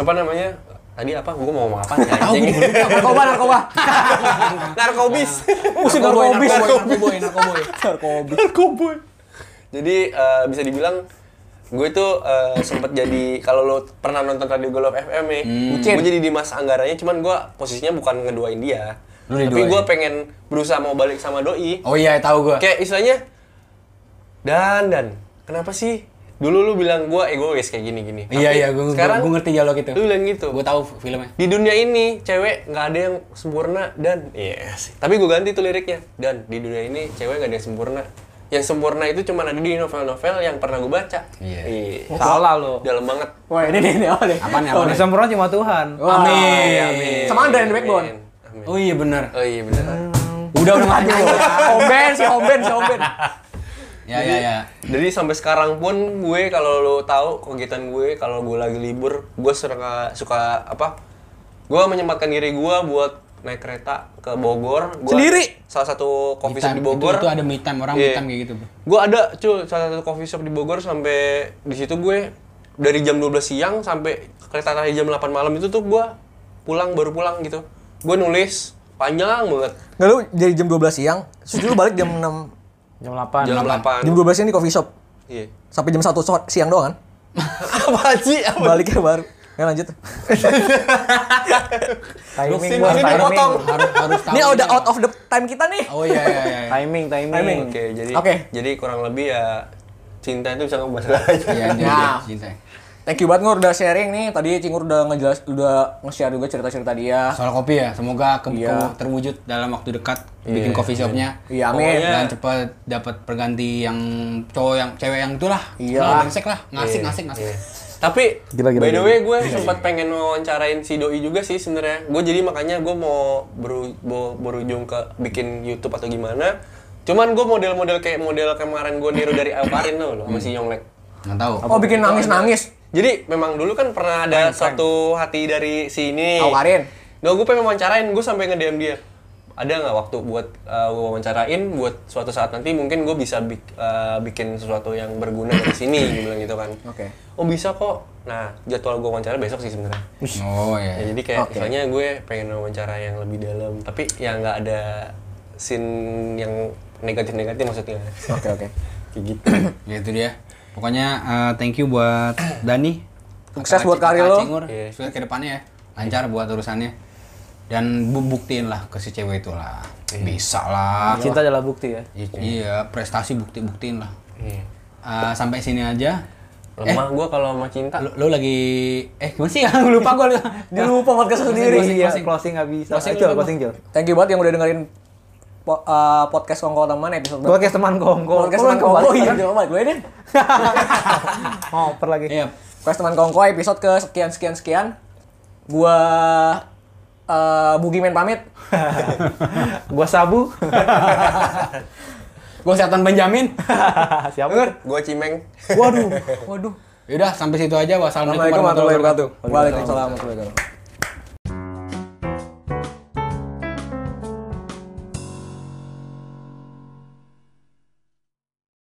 Apa namanya? Tadi apa? Gue mau ngomong apa? Gak tahu.
Narkoba, narkoba.
Narkobis.
Nah.
Musim
Narkoboy,
narkobis.
narkoboy, narkoboy.
Narkobis.
Narkoboy. Jadi eh, bisa dibilang gue itu eh, sempet jadi kalau lo pernah nonton Radio Golop FM ya,
Hmm.
gue jadi Dimas Anggaranya, cuman gue posisinya bukan ngeduain dia,
Lu
tapi
diduain.
gue pengen berusaha mau balik sama doi.
Oh iya, tahu gua.
Kayak istilahnya, dan dan kenapa sih dulu lu bilang gue egois kayak gini gini.
Iya iya, gue
sekarang
gue ngerti dialog itu.
Lu bilang gitu.
Gue tahu filmnya.
Di dunia ini cewek nggak ada yang sempurna dan iya sih. Tapi gue ganti tuh liriknya dan di dunia ini cewek nggak ada yang sempurna. Yang sempurna itu cuma ada di novel-novel yang pernah gue baca. Iya.
Salah lo.
Dalam banget.
Wah, ini nih, ini apa nih?
Apaan ya?
Yang sempurna cuma Tuhan.
Oh, iya,
Wah,
Amin.
Sama Andra yang di backbone.
Amin. Amin.
iya. Oh iya benar.
Oh iya bener.
Udah udah mati.
Omben, si Omben, si Omben.
Ya ya ya.
Jadi sampai sekarang pun gue kalau lo tahu kegiatan gue kalau gue lagi libur gue suka suka apa? Gue menyempatkan diri gue buat naik kereta ke Bogor. Gua,
Sendiri?
Salah satu coffee shop
Time,
di Bogor.
Itu, itu ada me time orang
Iya.
me time kayak gitu. bro.
Gue ada cuy salah satu coffee shop di Bogor sampai di situ gue dari jam 12 siang sampai kereta tadi jam 8 malam itu tuh gue pulang baru pulang gitu. Gue nulis panjang banget
Nggak lu dari jam 12 siang, terus lu balik jam 6.
Jam 8.
jam 8.
Jam 12 siang di coffee shop.
Iya.
Sampai jam 1 so- siang doang kan?
Apa sih? Apa?
Baliknya baru. Nggak lanjut.
Timing,
Sini,
Bos,
sini
timing.
dipotong.
Harus harus tahu.
Ini udah
juga.
out of the time kita nih.
Oh iya iya iya.
Timing, timing.
Oke, jadi
Oke.
jadi kurang lebih ya cinta itu bisa ngebahas aja.
Iya iya, iya.
Nah.
Cinta.
Thank you banget Ngur udah sharing nih. Tadi Cingur udah ngejelas udah nge-share juga cerita-cerita dia.
Soal kopi ya, semoga ke-
Iya.
ke- terwujud dalam waktu dekat bikin coffee shopnya.
Iya, amin.
Pokoknya- Dan cepet dapat perganti yang cowok yang cewek yang itulah.
Iya.
Nah, brengsek lah, ngasik ngasik ngasik.
Iya. Tapi by the way gue sempat pengen wawancarain si doi juga sih sebenarnya. Gue jadi makanya gue mau beru, mau berujung ke bikin YouTube atau gimana. Cuman gue model-model kayak model kemarin gue niru dari Alvarin tuh loh sama si Yonglek.
Nggak tahu.
Oh, bikin nangis-nangis.
Jadi memang dulu kan pernah ada satu hati dari sini.
Alvarin.
Nggak, gue pengen wawancarain, gue sampai nge-DM dia. Ada nggak waktu buat uh, gue wawancarain, buat suatu saat nanti mungkin gue bisa bik- uh, bikin sesuatu yang berguna dari sini, gue bilang gitu kan.
Oke.
Oh bisa kok. Nah, jadwal gue wawancara besok sih sebenarnya.
Oh iya.
Ya, jadi kayak misalnya gue pengen wawancara yang lebih dalam, tapi ya nggak ada scene yang negatif-negatif maksudnya.
Oke, oke.
Kayak gitu.
ya itu dia pokoknya eh, thank you buat Dani
Sukses
Kakak
buat
Ci-
karir
Kakak
lo.
Cingur.
Iya.
sukses ke depannya ya lancar buat urusannya dan bu- buktiin lah ke si cewek itu lah bisa
Iya.
lah
Cinta adalah bukti ya.
I- iya prestasi bukti buktiin lah
Iya.
Eh, sampai sini aja
Eh.
Lemah gue kalau sama cinta.
lo, lo lagi eh gimana sih lupa gue
Dia lupa podcast sendiri. Iya.
Closing,
closing.
closing, closing nggak bisa.
Closing
Cil,
dulu,
closing Cil.
Thank you banget yang udah dengerin po- eh, podcast Kongko Teman episode
Gue kayak teman kongko.
Podcast
Kok lu
Teman Kongko.
kebalik?
Iya, coba gue deh.
Ngoper lagi.
iya
Podcast Teman Kongko episode ke sekian sekian sekian. Gua eh Bugiman pamit.
Gua sabu.
gue kesehatan Benjamin
Siapa?
Gue cimeng.
Waduh, waduh.
yaudah sampai situ aja wassalamualaikum
Assalamualaikum warahmatullahi wabarakatuh.
Waalaikumsalam.
Waalaikumsalam warahmatullahi wabarakatuh.